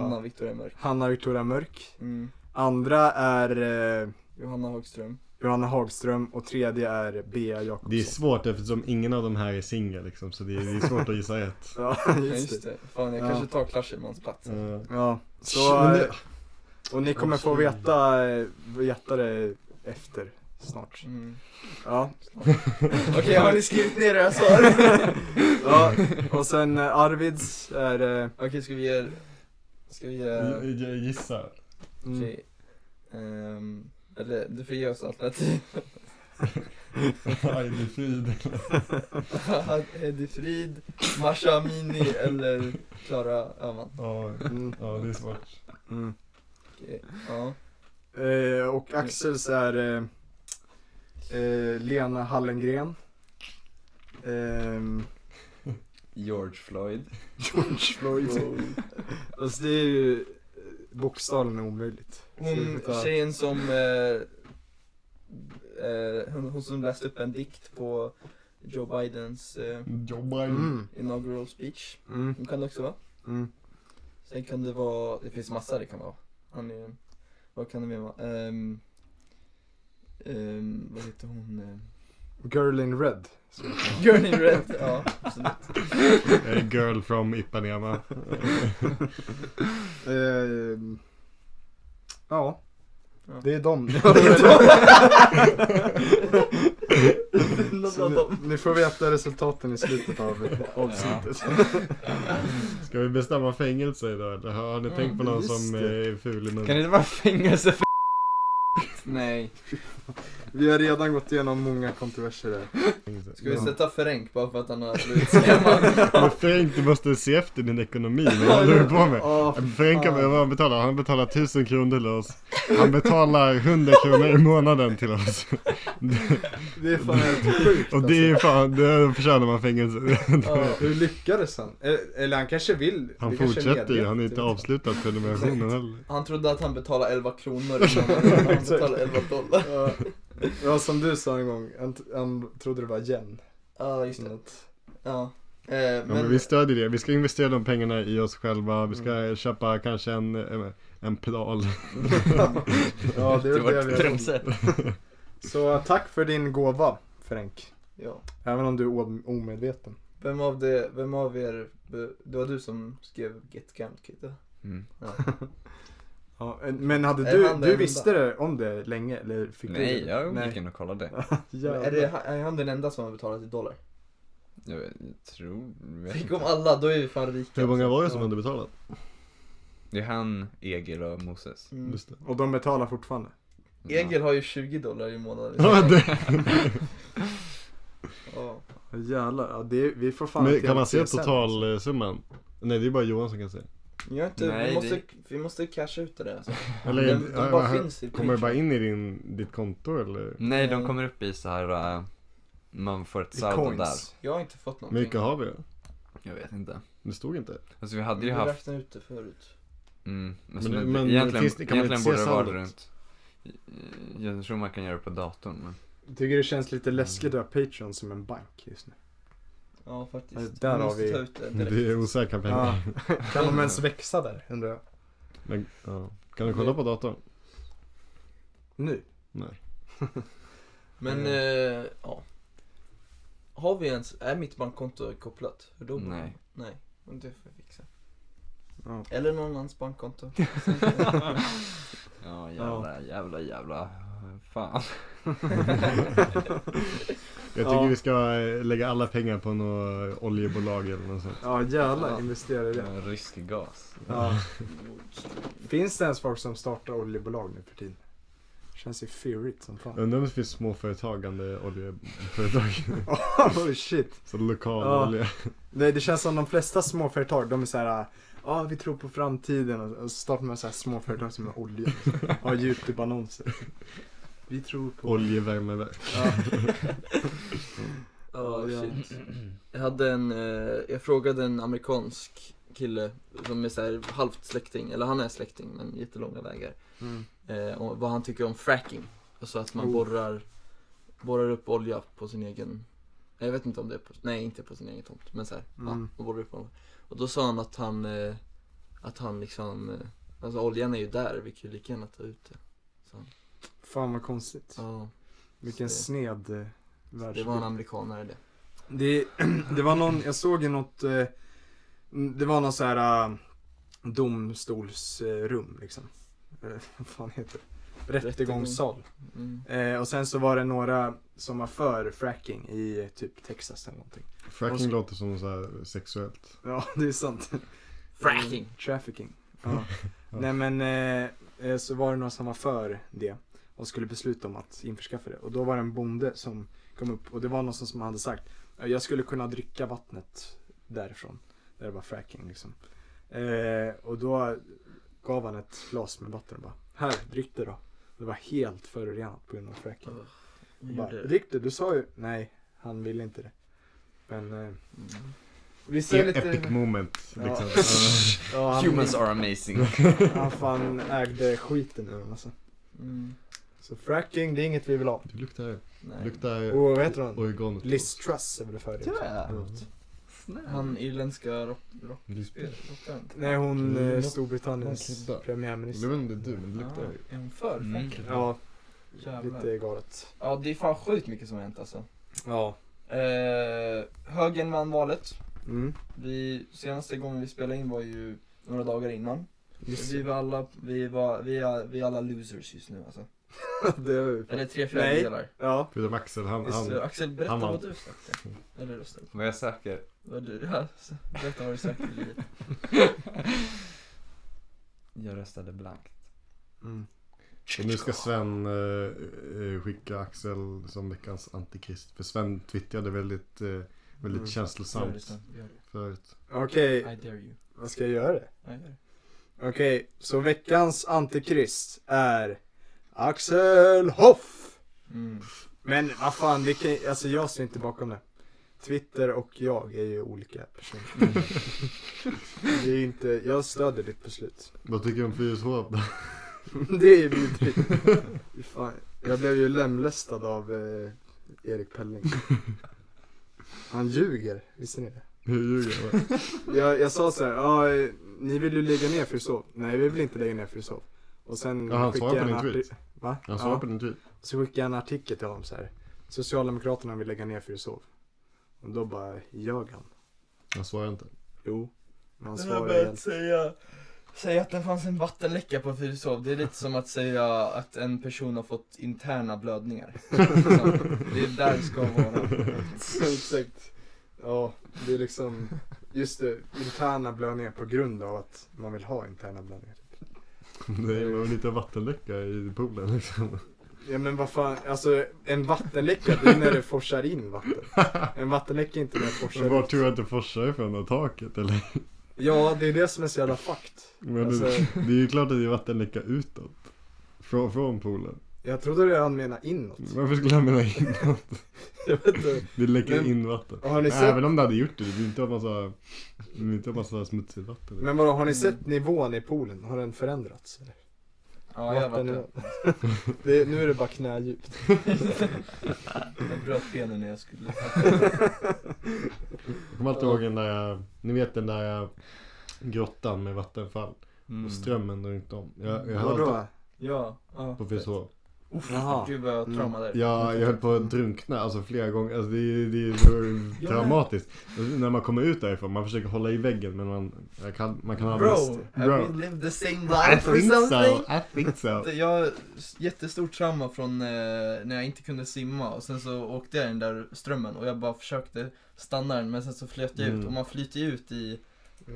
Speaker 4: Hanna
Speaker 1: ja,
Speaker 4: Victoria Mörk.
Speaker 1: Hanna Victoria Mörk.
Speaker 4: Mm.
Speaker 1: Andra är eh,
Speaker 4: Johanna Hagström.
Speaker 1: Johanna Hagström och tredje är Bea Jakobsson.
Speaker 3: Det är svårt eftersom ingen av de här är singel liksom, så det är, det är svårt att
Speaker 1: [laughs]
Speaker 3: gissa rätt.
Speaker 1: [laughs] Ja,
Speaker 4: Ja,
Speaker 1: just
Speaker 4: just
Speaker 1: det.
Speaker 4: det. Fan, jag
Speaker 1: Ja. Mm.
Speaker 4: kanske tar Clash Simons plats.
Speaker 3: Eh,
Speaker 1: Ja, så,
Speaker 3: men det-
Speaker 1: eh, och ni kommer få veta, eh, veta det efter snart.
Speaker 4: Mm.
Speaker 1: Ja.
Speaker 4: Okej, har ni skrivit ner era svar?
Speaker 1: [laughs] ja, och sen eh, Arvids är, eh,
Speaker 4: Okej, ska vi ge... Ska vi ge...
Speaker 3: g- g- Gissa.
Speaker 1: mm,
Speaker 4: Okej. Ehm, eller du får ge oss alternativ.
Speaker 3: [laughs] Heidi Frid.
Speaker 4: [laughs] Eddie Frid, Masha Amini eller Klara Öhman.
Speaker 3: Ja,
Speaker 1: mm,
Speaker 3: ja, det är svårt.
Speaker 1: mm.
Speaker 4: Okej, Ja.
Speaker 1: Eh, och Axels är eh, eh, Lena Hallengren. Ehm,
Speaker 5: George Floyd.
Speaker 1: George Floyd. alltså det är ju eh, bokstavligen omöjligt. Så
Speaker 3: Mm,
Speaker 1: vi
Speaker 4: Hon
Speaker 1: får ta-
Speaker 4: tjejen som... Eh, eh, hon, hon som läste upp en dikt på Joe Bidens eh,
Speaker 3: Jobbar ju.
Speaker 1: Mm,
Speaker 4: inaugural speech.
Speaker 1: mm,
Speaker 4: Hon kan det också vara.
Speaker 1: mm.
Speaker 4: Sen kan det vara, det finns massa det kan vara. Han är, vad kan det mer vara? Ehm, ehm, vad heter hon?
Speaker 1: [laughs]
Speaker 4: Ehm,
Speaker 1: Girl in Red. Så-
Speaker 4: Girl in Red, ja. absolut.
Speaker 3: Eh, Girl from Ipanema.
Speaker 1: Ehm, ja.
Speaker 4: Ja.
Speaker 1: Det är
Speaker 3: [laughs]
Speaker 1: dem. Så ni, ni får veta resultaten i slutet av avsnittet.
Speaker 3: [laughs] Ska vi bestämma fängelse idag eller? Har har ni tänkt på någon
Speaker 1: just
Speaker 3: som eh,
Speaker 1: det.
Speaker 3: är ful i
Speaker 5: Kan det
Speaker 3: munnen?
Speaker 5: inte vara fängelse för
Speaker 4: Nej.
Speaker 1: [laughs] Vi har redan gått igenom många kontroverser här.
Speaker 4: Ska vi
Speaker 3: Ja.
Speaker 4: sätta Ferenc bara för att han har blivit skrämmande?
Speaker 3: Men Frank, du måste se efter din ekonomi. Vad håller du på med?
Speaker 1: Ja,
Speaker 3: Frank, har- vad han betalar? Han betalar 1000 kronor till oss. Han betalar 100 kronor i månaden till oss.
Speaker 1: det är fan helt sjukt
Speaker 3: Och det är ju fan, det förtjänar man fängelse.
Speaker 1: alltså. Hur lyckades han? Eh, Eller han kanske vill.
Speaker 3: Han
Speaker 1: Det kanske är
Speaker 3: fortsätter ju,
Speaker 1: medvetet.
Speaker 3: han har inte avslutat prenumerationen heller.
Speaker 4: Han trodde att han betalade 11 kronor innan han betalade 11 dollar.
Speaker 1: Ja. Ja, som du sa en gång. Han, t- han trodde det var yen.
Speaker 4: Ja, just det.
Speaker 3: [laughs]
Speaker 4: Ja. Eh,
Speaker 3: Ja, men vi stödjer det, vi ska investera de pengarna i oss själva, vi ska köpa kanske en, en- en pedal.
Speaker 1: Ja, det är väl det
Speaker 5: vårt
Speaker 1: vi har gjort.
Speaker 5: trumset?
Speaker 1: Så tack för din gåva, Frank.
Speaker 4: ja.
Speaker 1: Även om du är o- omedveten.
Speaker 4: Vem av, det, vem av er, be- det var du som skrev Get Gamed Kid? va?
Speaker 5: Mm.
Speaker 1: Ja, en- men hade
Speaker 4: Är
Speaker 1: du,
Speaker 4: han
Speaker 1: du
Speaker 4: den
Speaker 1: visste det om det länge eller fick du
Speaker 5: Nej,
Speaker 1: det?
Speaker 5: jag gick
Speaker 1: Nej.
Speaker 5: in och kollade.
Speaker 1: Jävlar.
Speaker 4: Är, det, är han den enda som har betalat i dollar?
Speaker 5: Jag jag tror... vet
Speaker 4: Tänk
Speaker 5: inte.
Speaker 4: om alla, då är vi fan rika.
Speaker 3: Hur många var det
Speaker 4: Ja.
Speaker 3: som hade betalat?
Speaker 5: Det är han, Egil och Moses.
Speaker 4: Mm.
Speaker 3: Just det.
Speaker 1: Och de betalar fortfarande?
Speaker 5: Mm.
Speaker 4: Egil har ju 20 dollar i månaden.
Speaker 3: [laughs] Ja, det.
Speaker 4: Ja.
Speaker 1: Ja, Jävlar, ja, det, är- vi får fan
Speaker 3: Men
Speaker 1: inte
Speaker 3: kan man se
Speaker 1: göra CSN, alltså.
Speaker 3: totalsumman? Nej det är bara Johan som kan se.
Speaker 4: Vi, har inte,
Speaker 5: Nej,
Speaker 4: vi,
Speaker 5: det-
Speaker 4: måste, vi måste casha ut det där
Speaker 3: [laughs]
Speaker 4: alltså.
Speaker 3: Eller,
Speaker 4: de, de
Speaker 3: ja,
Speaker 4: bara
Speaker 3: här-
Speaker 4: finns i
Speaker 3: kommer det bara
Speaker 4: Patreon.
Speaker 3: in i din, ditt konto eller?
Speaker 5: Nej, de
Speaker 4: Mm.
Speaker 5: kommer upp i så här... äh, man får ett
Speaker 1: I
Speaker 5: saldo där.
Speaker 1: coins.
Speaker 4: Jag har inte fått
Speaker 3: Hur
Speaker 4: någonting.
Speaker 3: mycket har vi?
Speaker 5: Jag vet inte.
Speaker 3: Det stod inte.
Speaker 5: Alltså vi hade
Speaker 4: Vi
Speaker 5: ju haft
Speaker 4: räknade ut det förut.
Speaker 5: Mm,
Speaker 3: Men-
Speaker 5: men, men,
Speaker 3: men
Speaker 5: egentligen,
Speaker 3: finns det- kan man
Speaker 5: egentligen borde
Speaker 3: inte se
Speaker 5: det vara
Speaker 3: saldot?
Speaker 5: runt. Eh, Jag tror
Speaker 3: [laughs]
Speaker 5: man kan göra det på datorn men.
Speaker 1: Jag tycker det känns lite läskigt att ha Patreon som en bank just nu.
Speaker 4: Ja faktiskt.
Speaker 1: Där
Speaker 4: Vi
Speaker 1: har
Speaker 4: måste
Speaker 1: vi-
Speaker 4: ta ut det direkt.
Speaker 3: Det är osäkra pengar.
Speaker 1: Ja. [laughs] Kan de ens växa där undrar jag?
Speaker 3: Men, ja. Kan du kolla på datorn?
Speaker 1: Nu?
Speaker 3: Nej.
Speaker 4: Men,
Speaker 5: Mm.
Speaker 4: eh, ja. Har vi ens, är mitt bankkonto kopplat? För då
Speaker 5: Nej.
Speaker 4: Nej, men det får jag fixa.
Speaker 1: Ja.
Speaker 4: Eller någon
Speaker 5: [laughs]
Speaker 4: annans bankkonto.
Speaker 5: Ja jävla, jävla, jävla. Fan.
Speaker 3: Jag tycker
Speaker 1: Ja.
Speaker 3: vi ska eh, lägga alla pengar på något eh, oljebolag eller något sånt.
Speaker 1: Ja jävlar,
Speaker 5: Ja.
Speaker 1: investera i det.
Speaker 5: Rysk gas.
Speaker 1: [laughs] Ja. Finns det ens folk som startar oljebolag nu för tiden? Känns ju fearigt som fan.
Speaker 3: Undrar om det finns småföretagande
Speaker 1: [laughs]
Speaker 3: oljeföretag. [laughs]
Speaker 1: Oh shit.
Speaker 3: Så lokal
Speaker 1: Ja.
Speaker 3: olja.
Speaker 1: Nej, det känns som de flesta småföretag, de är så här, ja vi tror på framtiden och- och så startar man så här småföretag som är
Speaker 4: [laughs]
Speaker 1: olja. Ja, Youtube-annonser. Vi tror på...
Speaker 3: Oljevärmeverk.
Speaker 1: Ja.
Speaker 4: Ja,
Speaker 1: Ja.
Speaker 5: [clears throat]
Speaker 4: shit. Jag hade en, eh, jag frågade en amerikansk kille som är så här halvt släkting, eller han är släkting men jättelånga vägar.
Speaker 1: Mm.
Speaker 4: Eh, och vad han tycker om fracking. Alltså att man
Speaker 1: Oh.
Speaker 4: borrar, borrar upp olja på sin egen, nej, jag vet inte om det är på, nej inte på sin egen tomt, men så här,
Speaker 1: Mm.
Speaker 4: ja, man borrar upp olja. Och då sa han att han, eh, att han liksom, eh, alltså oljan är ju där, vi kan ju lika gärna ta ut det. Så, han-
Speaker 1: Fan vad konstigt.
Speaker 4: ja,
Speaker 1: Vilken
Speaker 4: det-
Speaker 1: sned eh,
Speaker 4: det
Speaker 1: världsbild.
Speaker 4: var en amerikanare det.
Speaker 1: Det, [clears throat] det var någon, jag såg ju något, eh, mm, det var någon så här eh, domstolsrum liksom. Eh, [laughs] Vad fan heter det? Rättegångssal.
Speaker 4: Mm.
Speaker 1: Eh, och sen så var det några som var för fracking i eh, typ Texas eller någonting. Och
Speaker 3: Fracking
Speaker 1: så-
Speaker 3: låter som så här sexuellt.
Speaker 1: Ja, det är sant.
Speaker 4: Fracking!
Speaker 1: Mm, Trafficking. Ja. [laughs] Nej men, eh, eh, så var det några som var för det och skulle besluta om att införskaffa det. Och då var det en bonde som kom upp och det var någon som- som hade sagt "Ja, jag skulle kunna dricka vattnet därifrån. Där det var fracking liksom. Eh, och då gav han ett glas med vatten och bara, här, drick det då. Det var helt förorenat på grund av fracking.
Speaker 4: Ugh,
Speaker 1: Och
Speaker 4: jag
Speaker 1: bara,
Speaker 4: gjorde-
Speaker 1: drick det, du sa ju, nej, han ville inte det. Men, eh,
Speaker 4: Mm.
Speaker 1: vi
Speaker 3: Det
Speaker 1: ser
Speaker 3: är epic
Speaker 1: lite...
Speaker 3: moment.
Speaker 1: Ja.
Speaker 3: Liksom.
Speaker 1: Ja, han-
Speaker 5: Humans are amazing.
Speaker 1: Han fan ägde skiten nu alltså.
Speaker 4: Mm,
Speaker 1: Så fracking, det är inget vi vill ha.
Speaker 3: Det luktar,
Speaker 4: nej.
Speaker 3: luktar
Speaker 1: Och vad heter hon?
Speaker 3: oregano.
Speaker 1: Liz Truss är väl för det? också.
Speaker 3: Mm.
Speaker 4: Han irländska rock, rock,
Speaker 3: Lisbeth.
Speaker 4: rockaren.
Speaker 1: Nej, hon
Speaker 3: Mm.
Speaker 1: eh, Storbritanniens
Speaker 3: Hon klibbar. Jag vet
Speaker 1: premiärminister.
Speaker 3: inte om det är du, men det luktar.
Speaker 4: Ah, är hon för
Speaker 5: Mm.
Speaker 4: fracking?
Speaker 1: Ja,
Speaker 4: Jävlar.
Speaker 1: lite galet.
Speaker 4: Ja, det är fan sjukt mycket som har hänt alltså.
Speaker 1: Ja.
Speaker 4: Eh, högern vann valet.
Speaker 1: Mm.
Speaker 4: Vi, senaste gången vi spelade in var ju några dagar innan.
Speaker 1: Just
Speaker 4: Vi var alla, vi var, vi är, vi är alla losers just nu alltså.
Speaker 1: [laughs] det. har vi
Speaker 4: Eller
Speaker 1: fan.
Speaker 4: tre
Speaker 1: Nej.
Speaker 4: fjärdedelar.
Speaker 1: Ja.
Speaker 3: Förutom Axel, han,
Speaker 1: Just
Speaker 4: Så
Speaker 3: han,
Speaker 4: Axel, berätta
Speaker 3: Han vann.
Speaker 4: vad du sökte. Eller röstade.
Speaker 5: Vad jag söker?
Speaker 4: Vad du, ja, så- berätta vad du sökte i
Speaker 3: [laughs]
Speaker 4: livet.
Speaker 5: Jag röstade blankt.
Speaker 1: Mm.
Speaker 3: och nu ska Sven eh, eh, skicka Axel som veckans antikrist. För Sven twittrade väldigt, eh, väldigt
Speaker 1: Mm.
Speaker 4: Gör det
Speaker 3: känslosamt
Speaker 4: sen, gör det.
Speaker 3: förut.
Speaker 1: Okej,
Speaker 4: I dare you.
Speaker 1: vad ska jag göra?
Speaker 4: Ja, gör det.
Speaker 1: Okej, så veckans antikrist är Axel Hoff.
Speaker 4: Mm.
Speaker 1: Men vad fan, det kan, alltså jag står inte bakom det. Twitter och jag är ju olika personer. det är inte, jag stödjer ditt beslut. [laughs]
Speaker 3: Vad tycker du om 4H då?
Speaker 1: det är vidrigt. Fy fan, jag blev ju lemlästad av eh, Erik Pelling. Han ljuger, visste ni det?
Speaker 3: [laughs] Hur ljuger jag? va?
Speaker 1: Jag, jag sa så här, ja, eh, ni vill ju lägga ner Frisov. Nej, vi vill inte lägga ner Frisov. Och sen
Speaker 3: Ja, han
Speaker 1: skickade
Speaker 3: svarar
Speaker 1: jag
Speaker 3: på
Speaker 1: en
Speaker 3: din
Speaker 1: arti-
Speaker 3: tweet.
Speaker 1: Va?
Speaker 3: Han
Speaker 1: Ja.
Speaker 3: svarar på din tweet.
Speaker 1: Så skickade jag en artikel till honom så här. Socialdemokraterna vill lägga ner Fyrishov. Och då bara ljög han.
Speaker 3: Han svarar inte. [laughs]
Speaker 1: Jo. Men han
Speaker 4: Den har
Speaker 1: svarade [laughs]
Speaker 4: börjat
Speaker 1: helt.
Speaker 4: säga, säga att det fanns en vattenläcka på Fyrishov. Det är lite som att säga att en person har fått interna blödningar. Liksom, det är där det ska vara.
Speaker 1: [laughs] Exakt. Ja, det är liksom. Just det, interna blödningar på grund av att man vill ha interna blödningar.
Speaker 3: Nej, man vill inte ha vattenläcka i poolen liksom.
Speaker 1: Ja men vad fan, alltså en vattenläcka det är när det forsar in vatten. En vattenläcka är inte när det
Speaker 3: Men var
Speaker 1: forsar ut.
Speaker 3: tror jag att det forsar ifrån? Av taket eller?
Speaker 1: Ja, det är det som är så jävla fakt.
Speaker 3: Men
Speaker 1: Alltså-
Speaker 3: det, det är ju klart att det är vattenläcka utåt. Från, från poolen.
Speaker 1: Jag trodde det han menade
Speaker 3: [laughs]
Speaker 1: inåt.
Speaker 3: Varför skulle han mena inåt?
Speaker 1: Jag vet inte.
Speaker 3: Det läcker
Speaker 1: Men-
Speaker 3: in vatten.
Speaker 1: Har ni
Speaker 3: Men
Speaker 1: sett
Speaker 3: även om det hade gjort det, det blir inte en massa, det blir inte en massa smutsigt vatten.
Speaker 1: Men vadå, har ni sett nivån i poolen? Har den förändrats? Eller?
Speaker 4: Ja, jag har varit där.
Speaker 1: Vattennivån. [laughs] det, nu är det bara knädjupt.
Speaker 4: Jag bröt benen när jag skulle.
Speaker 3: kommer alltid ihåg den där, ni vet den där grottan med vattenfall
Speaker 5: Mm.
Speaker 3: och strömmen runt om. Jag, jag höll
Speaker 1: Vadå?
Speaker 4: Ja, ja. Ah,
Speaker 3: på Fyrishov.
Speaker 1: Jaha.
Speaker 4: Gud vad jag
Speaker 1: Mm.
Speaker 4: traumade.
Speaker 3: Ja, jag höll på att drunkna alltså flera gånger. Alltså, det, är- det är så traumatiskt. Och när man kommer ut därifrån, man försöker hålla i väggen men man, jag kan, man kan aldrig...
Speaker 4: Bro, have we
Speaker 3: Bro.
Speaker 4: lived the same
Speaker 3: I
Speaker 4: life or
Speaker 3: think so,
Speaker 4: something?
Speaker 3: I
Speaker 4: [laughs]
Speaker 3: think so.
Speaker 4: Jag har s- jättestort trauma från eh, när jag inte kunde simma och sen så åkte jag i den där strömmen och jag bara försökte stanna den men sen så flöt jag ut
Speaker 3: Mm.
Speaker 4: och man flyter ju ut i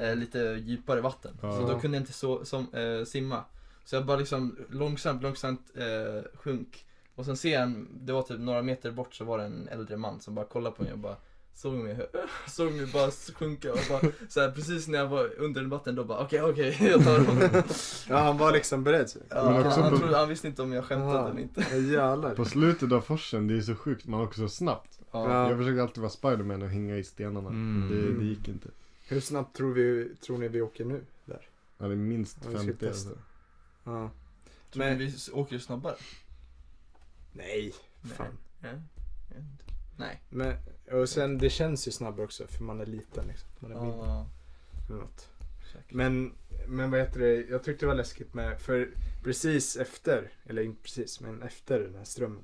Speaker 4: eh, lite djupare vatten
Speaker 3: Ja.
Speaker 4: så då kunde jag inte så, som, eh, simma. Så jag bara liksom långsamt, långsamt eh, sjönk och sen ser jag en, det var typ några meter bort så var det en äldre man som bara kollade på mig och bara Såg mig, [laughs] såg mig bara sjunka och bara så här, precis när jag var under vatten då bara okej okej [laughs] jag tar honom.
Speaker 1: [laughs] Ja, han var liksom beredd. så.
Speaker 4: Ja,
Speaker 3: Men
Speaker 4: han,
Speaker 3: också
Speaker 4: han,
Speaker 3: på-
Speaker 4: trodde, han visste inte om jag skämtade
Speaker 1: Jaha.
Speaker 4: eller inte.
Speaker 1: Ja, Jävlar.
Speaker 3: På slutet av forsen, det är så sjukt, man åker så snabbt.
Speaker 1: Ja.
Speaker 3: Jag försöker alltid vara Spiderman och hänga i stenarna.
Speaker 5: Mm.
Speaker 3: Det, det gick inte.
Speaker 1: Hur snabbt tror, vi, tror ni vi åker nu? Där?
Speaker 3: Ja, det är minst
Speaker 1: Ja, vi ska
Speaker 3: 50
Speaker 1: testa.
Speaker 3: alltså.
Speaker 1: Ja.
Speaker 4: Tror du vi s- åker snabbare?
Speaker 1: Nej, fan.
Speaker 4: Nej. Nej.
Speaker 1: Men, och sen det känns ju snabbare också för man är liten liksom. Man är mindre.
Speaker 4: Ja,
Speaker 1: eller något.
Speaker 4: säkert.
Speaker 1: Men, men vad heter det, jag tyckte det var läskigt med, för precis efter, eller inte precis, men efter den här strömmen.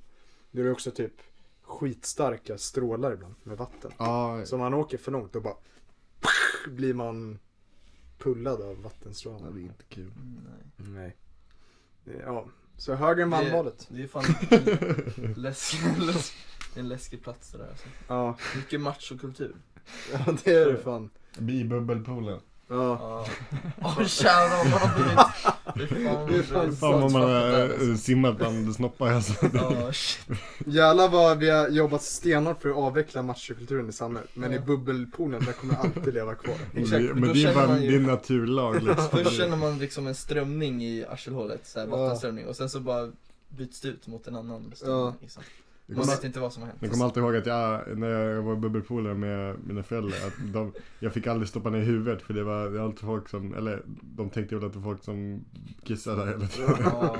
Speaker 1: Då är det också typ skitstarka strålar ibland med vatten.
Speaker 3: Ja,
Speaker 1: Så om man åker för långt då bara blir man pullad av
Speaker 3: ja, det är
Speaker 1: vattenstrålarna.
Speaker 3: inte kul.
Speaker 4: Mm, Nej.
Speaker 1: Nej. Ja, så höger än vannvalet.
Speaker 4: Det är fan läskig, läsk, [laughs] en läskig plats det där alltså.
Speaker 1: Ja,
Speaker 4: Mycket machokultur.
Speaker 1: ja, det är det fan.
Speaker 3: Vi i bubbelpoolen.
Speaker 1: Ja.
Speaker 4: Ja. Åh kära vad har blivit. Fy fan,
Speaker 1: Det är fan
Speaker 3: Fan vad man har
Speaker 4: svartfattat där,
Speaker 3: eh, simmat bland
Speaker 4: [laughs]
Speaker 3: snoppar alltså.
Speaker 4: alltså. Ja, shit.
Speaker 1: Jävlar vad vi har jobbat stenhårt för att avveckla machokulturen i samhället. Men i
Speaker 4: Ja.
Speaker 1: bubbelpoolen där kommer det alltid leva kvar.
Speaker 4: Exakt,
Speaker 3: Det-
Speaker 4: då
Speaker 3: Men det är
Speaker 4: känner
Speaker 3: bara
Speaker 4: man ju-
Speaker 3: det är
Speaker 4: [laughs]
Speaker 3: naturlag liksom.
Speaker 4: Först känner man liksom en strömning i arselhålet, så här
Speaker 1: Ja.
Speaker 4: vattenströmning och sen så bara byts det ut mot en annan
Speaker 1: Ja.
Speaker 4: strömning. Liksom.
Speaker 3: Det
Speaker 4: Man
Speaker 3: kommer-
Speaker 4: vet inte vad som har hänt.
Speaker 3: Jag kommer alltid ihåg att jag, när jag var bubbelpolare med mina föräldrar, att de, jag fick aldrig stoppa ner huvudet för det var, det var alltid folk som, eller de tänkte väl att det var folk som kissade där hela tiden.
Speaker 4: Ja.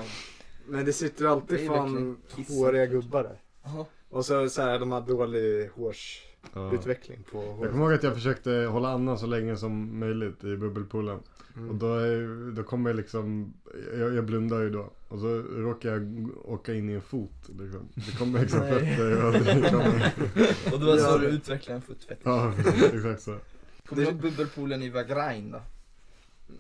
Speaker 1: Men det sitter
Speaker 4: Det
Speaker 1: alltid
Speaker 4: är
Speaker 1: fan
Speaker 4: verkligen kissigt.
Speaker 1: håriga gubbar där.
Speaker 4: Ja.
Speaker 1: Och så, så här, de har dålig hårsutveckling
Speaker 3: Ja.
Speaker 1: på
Speaker 3: Jag
Speaker 1: håret.
Speaker 3: kommer ihåg att jag försökte hålla andan så länge som möjligt i bubbelpoolen. Och
Speaker 1: Mm.
Speaker 3: då, är- då kommer jag liksom, jag, jag blundar ju då. Och så råkar jag åka in i en fot liksom. Det kommer liksom
Speaker 4: Nej.
Speaker 3: fötter och det kommer,
Speaker 4: Och det var så
Speaker 1: Ja.
Speaker 4: du utvecklade en fotfett.
Speaker 3: ja precis, exakt så.
Speaker 4: Kommer du ihåg bubbelpoolen i Vagrain då?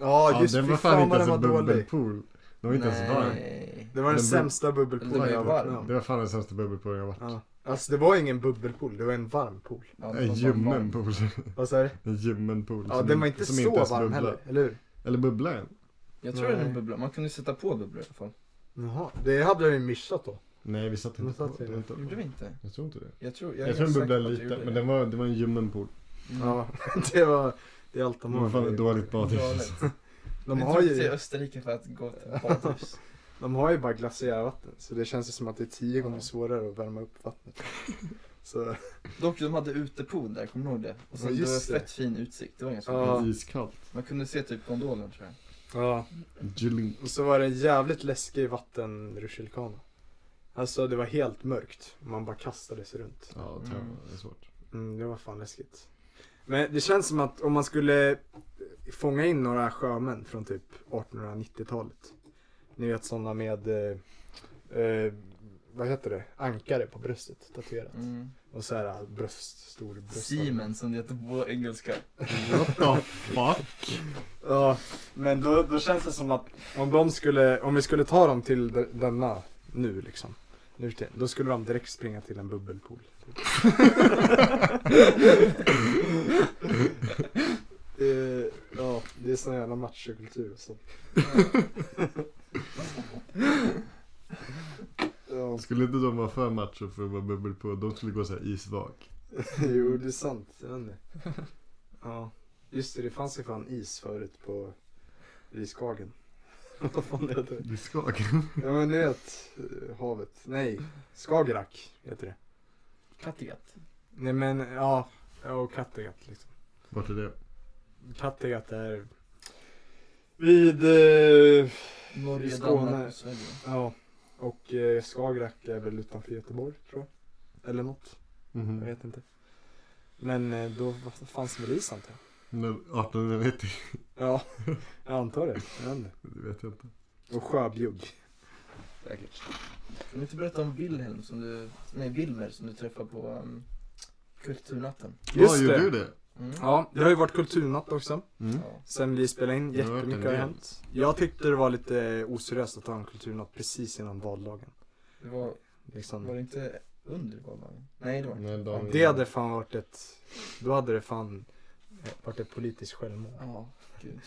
Speaker 1: Ja
Speaker 3: Ja,
Speaker 1: just
Speaker 3: den
Speaker 1: fy
Speaker 3: var fan inte
Speaker 1: vad den
Speaker 3: ens
Speaker 1: var
Speaker 3: en
Speaker 1: dålig.
Speaker 3: bubbelpool. Den var inte ens varm.
Speaker 4: Nej.
Speaker 1: Det var den
Speaker 3: Den bub-
Speaker 1: sämsta
Speaker 4: Den var
Speaker 1: bubbelpoolen
Speaker 4: ju
Speaker 1: jag varit
Speaker 4: varm.
Speaker 1: med om.
Speaker 3: Det var fan den sämsta bubbelpoolen jag varit.
Speaker 1: Ja. Alltså det var ingen bubbelpool, det var en varm pool.
Speaker 4: Ja, det
Speaker 3: En
Speaker 4: var
Speaker 3: ljummen
Speaker 4: bara-
Speaker 3: pool. [laughs]
Speaker 1: Vad sa du?
Speaker 3: En ljummen pool.
Speaker 1: Ja
Speaker 3: som
Speaker 1: den var inte
Speaker 3: som
Speaker 1: så
Speaker 3: ens
Speaker 1: varm
Speaker 3: bubblar.
Speaker 1: heller, eller hur?
Speaker 3: Eller bubblar än.
Speaker 4: Jag tror det är
Speaker 1: Nej.
Speaker 4: en bubbla, man kunde sätta på bubblor i alla fall.
Speaker 1: Jaha, det hade jag ju missat då.
Speaker 3: Nej vi satt
Speaker 1: Men
Speaker 3: inte
Speaker 1: satt
Speaker 3: på
Speaker 1: vi
Speaker 3: den. Inte.
Speaker 4: Gjorde vi inte?
Speaker 3: Jag tror inte det.
Speaker 4: Jag tror, jag
Speaker 3: Jag,
Speaker 4: är
Speaker 3: tror den
Speaker 4: ganska
Speaker 3: bubblade
Speaker 4: säker på att jag gjorde
Speaker 3: lite, men
Speaker 4: det.
Speaker 3: den var, det var en ljummen pool.
Speaker 4: Mm.
Speaker 1: Ja, [laughs] det var, det är allt
Speaker 3: Det
Speaker 1: de
Speaker 3: var
Speaker 1: har.
Speaker 3: fan ett dåligt badhus. [laughs]
Speaker 4: Galet.
Speaker 1: De
Speaker 4: Vi
Speaker 1: har
Speaker 4: drog till
Speaker 1: ju,
Speaker 4: Österrike för att
Speaker 1: [laughs]
Speaker 4: gå till badhus.
Speaker 1: de har ju bara glaciärvatten, så det känns ju som att det är tio gånger svårare att värma upp
Speaker 4: [laughs]
Speaker 1: vattnet. Så,
Speaker 4: Dock, de hade utepool där, kommer du ihåg det? Och
Speaker 1: Ja,
Speaker 4: sen det
Speaker 1: just
Speaker 4: var
Speaker 1: det.
Speaker 4: fett fin utsikt, det var ganska
Speaker 1: Ja.
Speaker 4: bra.
Speaker 3: Iskallt.
Speaker 4: Man kunde se typ gondolen tror jag.
Speaker 1: ja.
Speaker 3: Juling.
Speaker 1: Och så var det en jävligt läskig vattenrutschkana. Alltså det var helt mörkt. Man bara kastade sig runt.
Speaker 3: Ja,
Speaker 4: Mm.
Speaker 3: mm. det är svårt.
Speaker 1: Mm, det var fan läskigt. Men det känns som att om man skulle eh, fånga in några sjömän från typ 1890-talet. Ni vet sådana med, eh, eh, vad heter det, ankare på bröstet tatuerat.
Speaker 4: Mm.
Speaker 1: Och så här bröst, stor bröst.
Speaker 4: Siemens som det heter på engelska.
Speaker 3: What the fuck?
Speaker 1: Ja, men då, då känns det som att om de skulle, om vi skulle ta dem till de- denna nu liksom. Nu till, då skulle de direkt springa till en bubbelpool. [laughs] Eh, ja, det är sån jävla machokultur [laughs] så. ja, [laughs]
Speaker 3: Skulle inte de vara för macho för att vara bubbelpool? De skulle gå såhär isvak.
Speaker 1: jo det är sant. Jag vet inte. Ja, just det, det fanns ju fan is förut på, i Skagen. [laughs] Vad fan heter det?
Speaker 3: Isvak? [laughs]
Speaker 1: Ja men ni vet, eh, havet. Nej, Skagerrak heter det.
Speaker 4: Kattegatt.
Speaker 1: Nej men, ja. ja, Och Kattegatt liksom.
Speaker 3: Vart är det?
Speaker 1: Kattegatt är vid, eh,
Speaker 4: Norge,
Speaker 1: Skåne.
Speaker 4: Danmark och Sverige.
Speaker 1: ja. Och eh, Skagerrak är väl utanför Göteborg tror jag. Eller något, jag
Speaker 3: Mhm.
Speaker 1: vet inte. Men eh, då fanns det väl is antar jag?
Speaker 3: Men 1890,
Speaker 1: Ja, [laughs] jag antar det. Jag vet inte.
Speaker 3: det vet jag inte.
Speaker 1: Och sjöbjugg.
Speaker 4: Säkert. Kan du inte berätta om Wilhelm som du, nej Wilmer som du träffade på um, kulturnatten?
Speaker 3: Just ja, gjorde du det?
Speaker 4: Mm.
Speaker 1: Ja, det har ju varit kulturnatt också.
Speaker 3: Mm.
Speaker 4: Ja.
Speaker 1: Sen vi spelade in,
Speaker 3: Det har varit en
Speaker 1: jättemycket har
Speaker 3: del.
Speaker 1: hänt. Jag tyckte det var lite oseriöst att ha en kulturnatt precis innan valdagen.
Speaker 4: Det var, var
Speaker 1: Liksom.
Speaker 4: det inte under valdagen? Nej det var det inte.
Speaker 3: Nej, dagen
Speaker 1: Det
Speaker 3: innan.
Speaker 1: hade fan varit ett, då hade det fan eh, varit ett politiskt självmord.
Speaker 4: Ja, gud.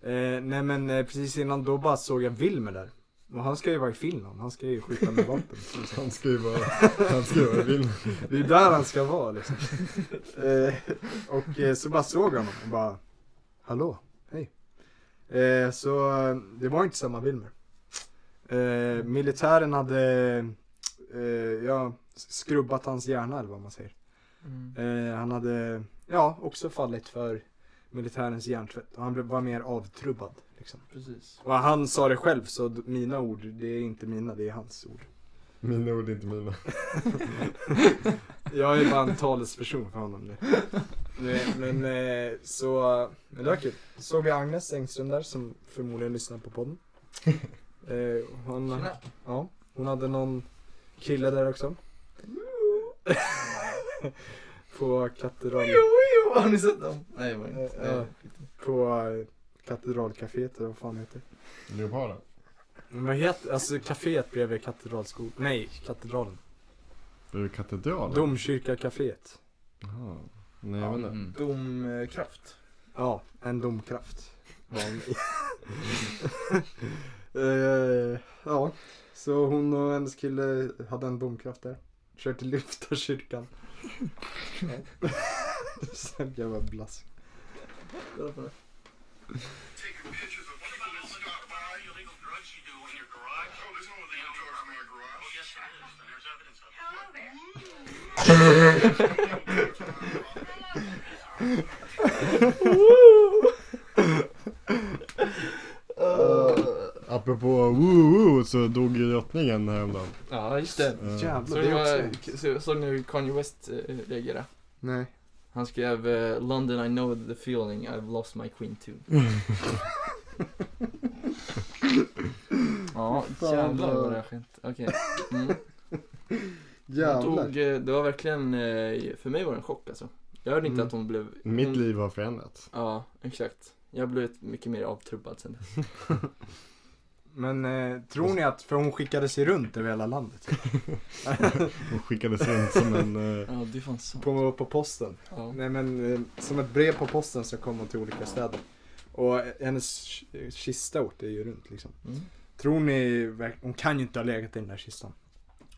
Speaker 1: Eh, nej men eh, precis innan då bara såg jag Wilmer där. Och han ska ju vara i Finland, han ska ju skjuta med vapen.
Speaker 3: Han ska ju vara,
Speaker 1: [laughs]
Speaker 3: han ska ju vara i Vilnius.
Speaker 1: Det är där han ska vara liksom. eh, och eh, så bara såg jag honom och bara, hallå, hej. Eh, så eh, det var inte samma Wilmer. Eh, militären hade, eh, ja, skrubbat hans hjärna eller vad man säger.
Speaker 4: Mm.
Speaker 1: Eh, han hade, ja, också fallit för militärens hjärntvätt. Och han blev- var mer avtrubbad liksom.
Speaker 4: Precis.
Speaker 1: Och han sa det själv så d- mina ord, det är inte mina, det är hans ord.
Speaker 3: Mina ord är inte mina.
Speaker 1: Jag är bara en talesperson för honom nu. Nej, Men eh, så, men det var kul. Såg vi Agnes Engström där som förmodligen lyssnar på [laughs] podden. Eh, hon,
Speaker 4: Tjena.
Speaker 1: ja, hon hade någon kille där [laughs] också. på katedral,
Speaker 4: Ojo, ojo, har ni sett dem? Nej det var det inte.
Speaker 1: Ja.
Speaker 4: Nej.
Speaker 1: på eh, katedralcaféet eller vad fan det heter.
Speaker 3: Leoparden.
Speaker 1: Men vad heter, alltså caféet bredvid katedralskolan, nej katedralen.
Speaker 3: Bredvid katedralen?
Speaker 1: Domkyrkacaféet.
Speaker 3: Jaha. Nej, jag vet inte.
Speaker 5: Mm.
Speaker 4: Domkraft.
Speaker 1: Ja, en domkraft. var hon [laughs] i. Eh, ja, så hon och hennes kille hade en domkraft där. Försökte lyfta [laughs] kyrkan. Sen jävla blask.
Speaker 4: Kolla på det.
Speaker 5: [laughs]
Speaker 3: [laughs] Apropå woo-woo så dog ju drottningen häromdagen.
Speaker 4: Ja just det.
Speaker 3: Eh,
Speaker 1: Jävlar,
Speaker 4: Såg
Speaker 1: det
Speaker 4: ni
Speaker 1: är
Speaker 4: vad-
Speaker 1: också
Speaker 4: så- såg ni hur Kanye West eh, reagerade?
Speaker 1: Nej.
Speaker 4: Han skrev eh, London I know the feeling I've lost my queen too.
Speaker 1: [laughs]
Speaker 4: ja, jävlar vad det har skänt. Okej. Mm. Hon
Speaker 1: Jävlar.
Speaker 4: Tog, eh, det var verkligen, eh, för mig var det en chock alltså. Jag hörde inte
Speaker 1: Mm.
Speaker 4: att hon blev...
Speaker 3: Mitt
Speaker 4: hon,
Speaker 3: liv har förändrats.
Speaker 4: Ja, exakt. Jag blev ett- mycket mer avtrubbad sen dess.
Speaker 1: Men eh, tror ni att, för hon skickade sig runt över hela landet.
Speaker 3: Hon skickades runt som en... eh,
Speaker 4: Ja, det är fan sant.
Speaker 1: på, på posten.
Speaker 4: Ja.
Speaker 1: Nej men eh, som ett brev på posten så kom hon till olika städer. Och eh, hennes k- kista åkte ju runt liksom.
Speaker 4: Mm.
Speaker 1: Tror ni, verk- hon kan ju inte ha legat i den där kistan.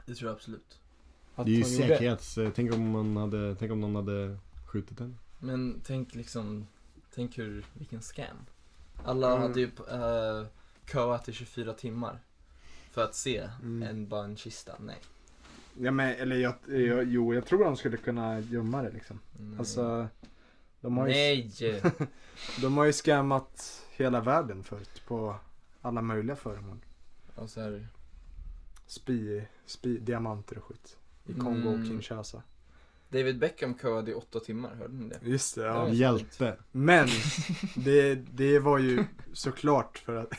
Speaker 4: Det tror jag absolut.
Speaker 3: Det är ju säkerhets... eh, Tänk om, man hade, tänk om någon hade skjutit henne.
Speaker 4: Men tänk liksom, tänk hur, vilken scam. Alla
Speaker 1: Mm.
Speaker 4: hade ju eh, köat i 24 timmar för att se
Speaker 1: Mm.
Speaker 4: en, bara en kista. Nej.
Speaker 1: Ja men eller jag, jag, jo jag tror de skulle kunna gömma det liksom.
Speaker 3: Mm.
Speaker 4: Nej.
Speaker 1: Alltså, de har, ju,
Speaker 4: Nej! [laughs]
Speaker 1: de har ju scammat hela världen förut på alla möjliga föremål.
Speaker 4: och så Alltså här,
Speaker 1: Spi, spi, diamanter och skit. I Kongo och
Speaker 4: Mm.
Speaker 1: Kinshasa.
Speaker 4: David Beckham köade i 8 timmar, hörde ni det?
Speaker 1: Just det,
Speaker 4: Ja.
Speaker 1: ja.
Speaker 3: Hjälte. [laughs]
Speaker 1: Men det, det var ju såklart för att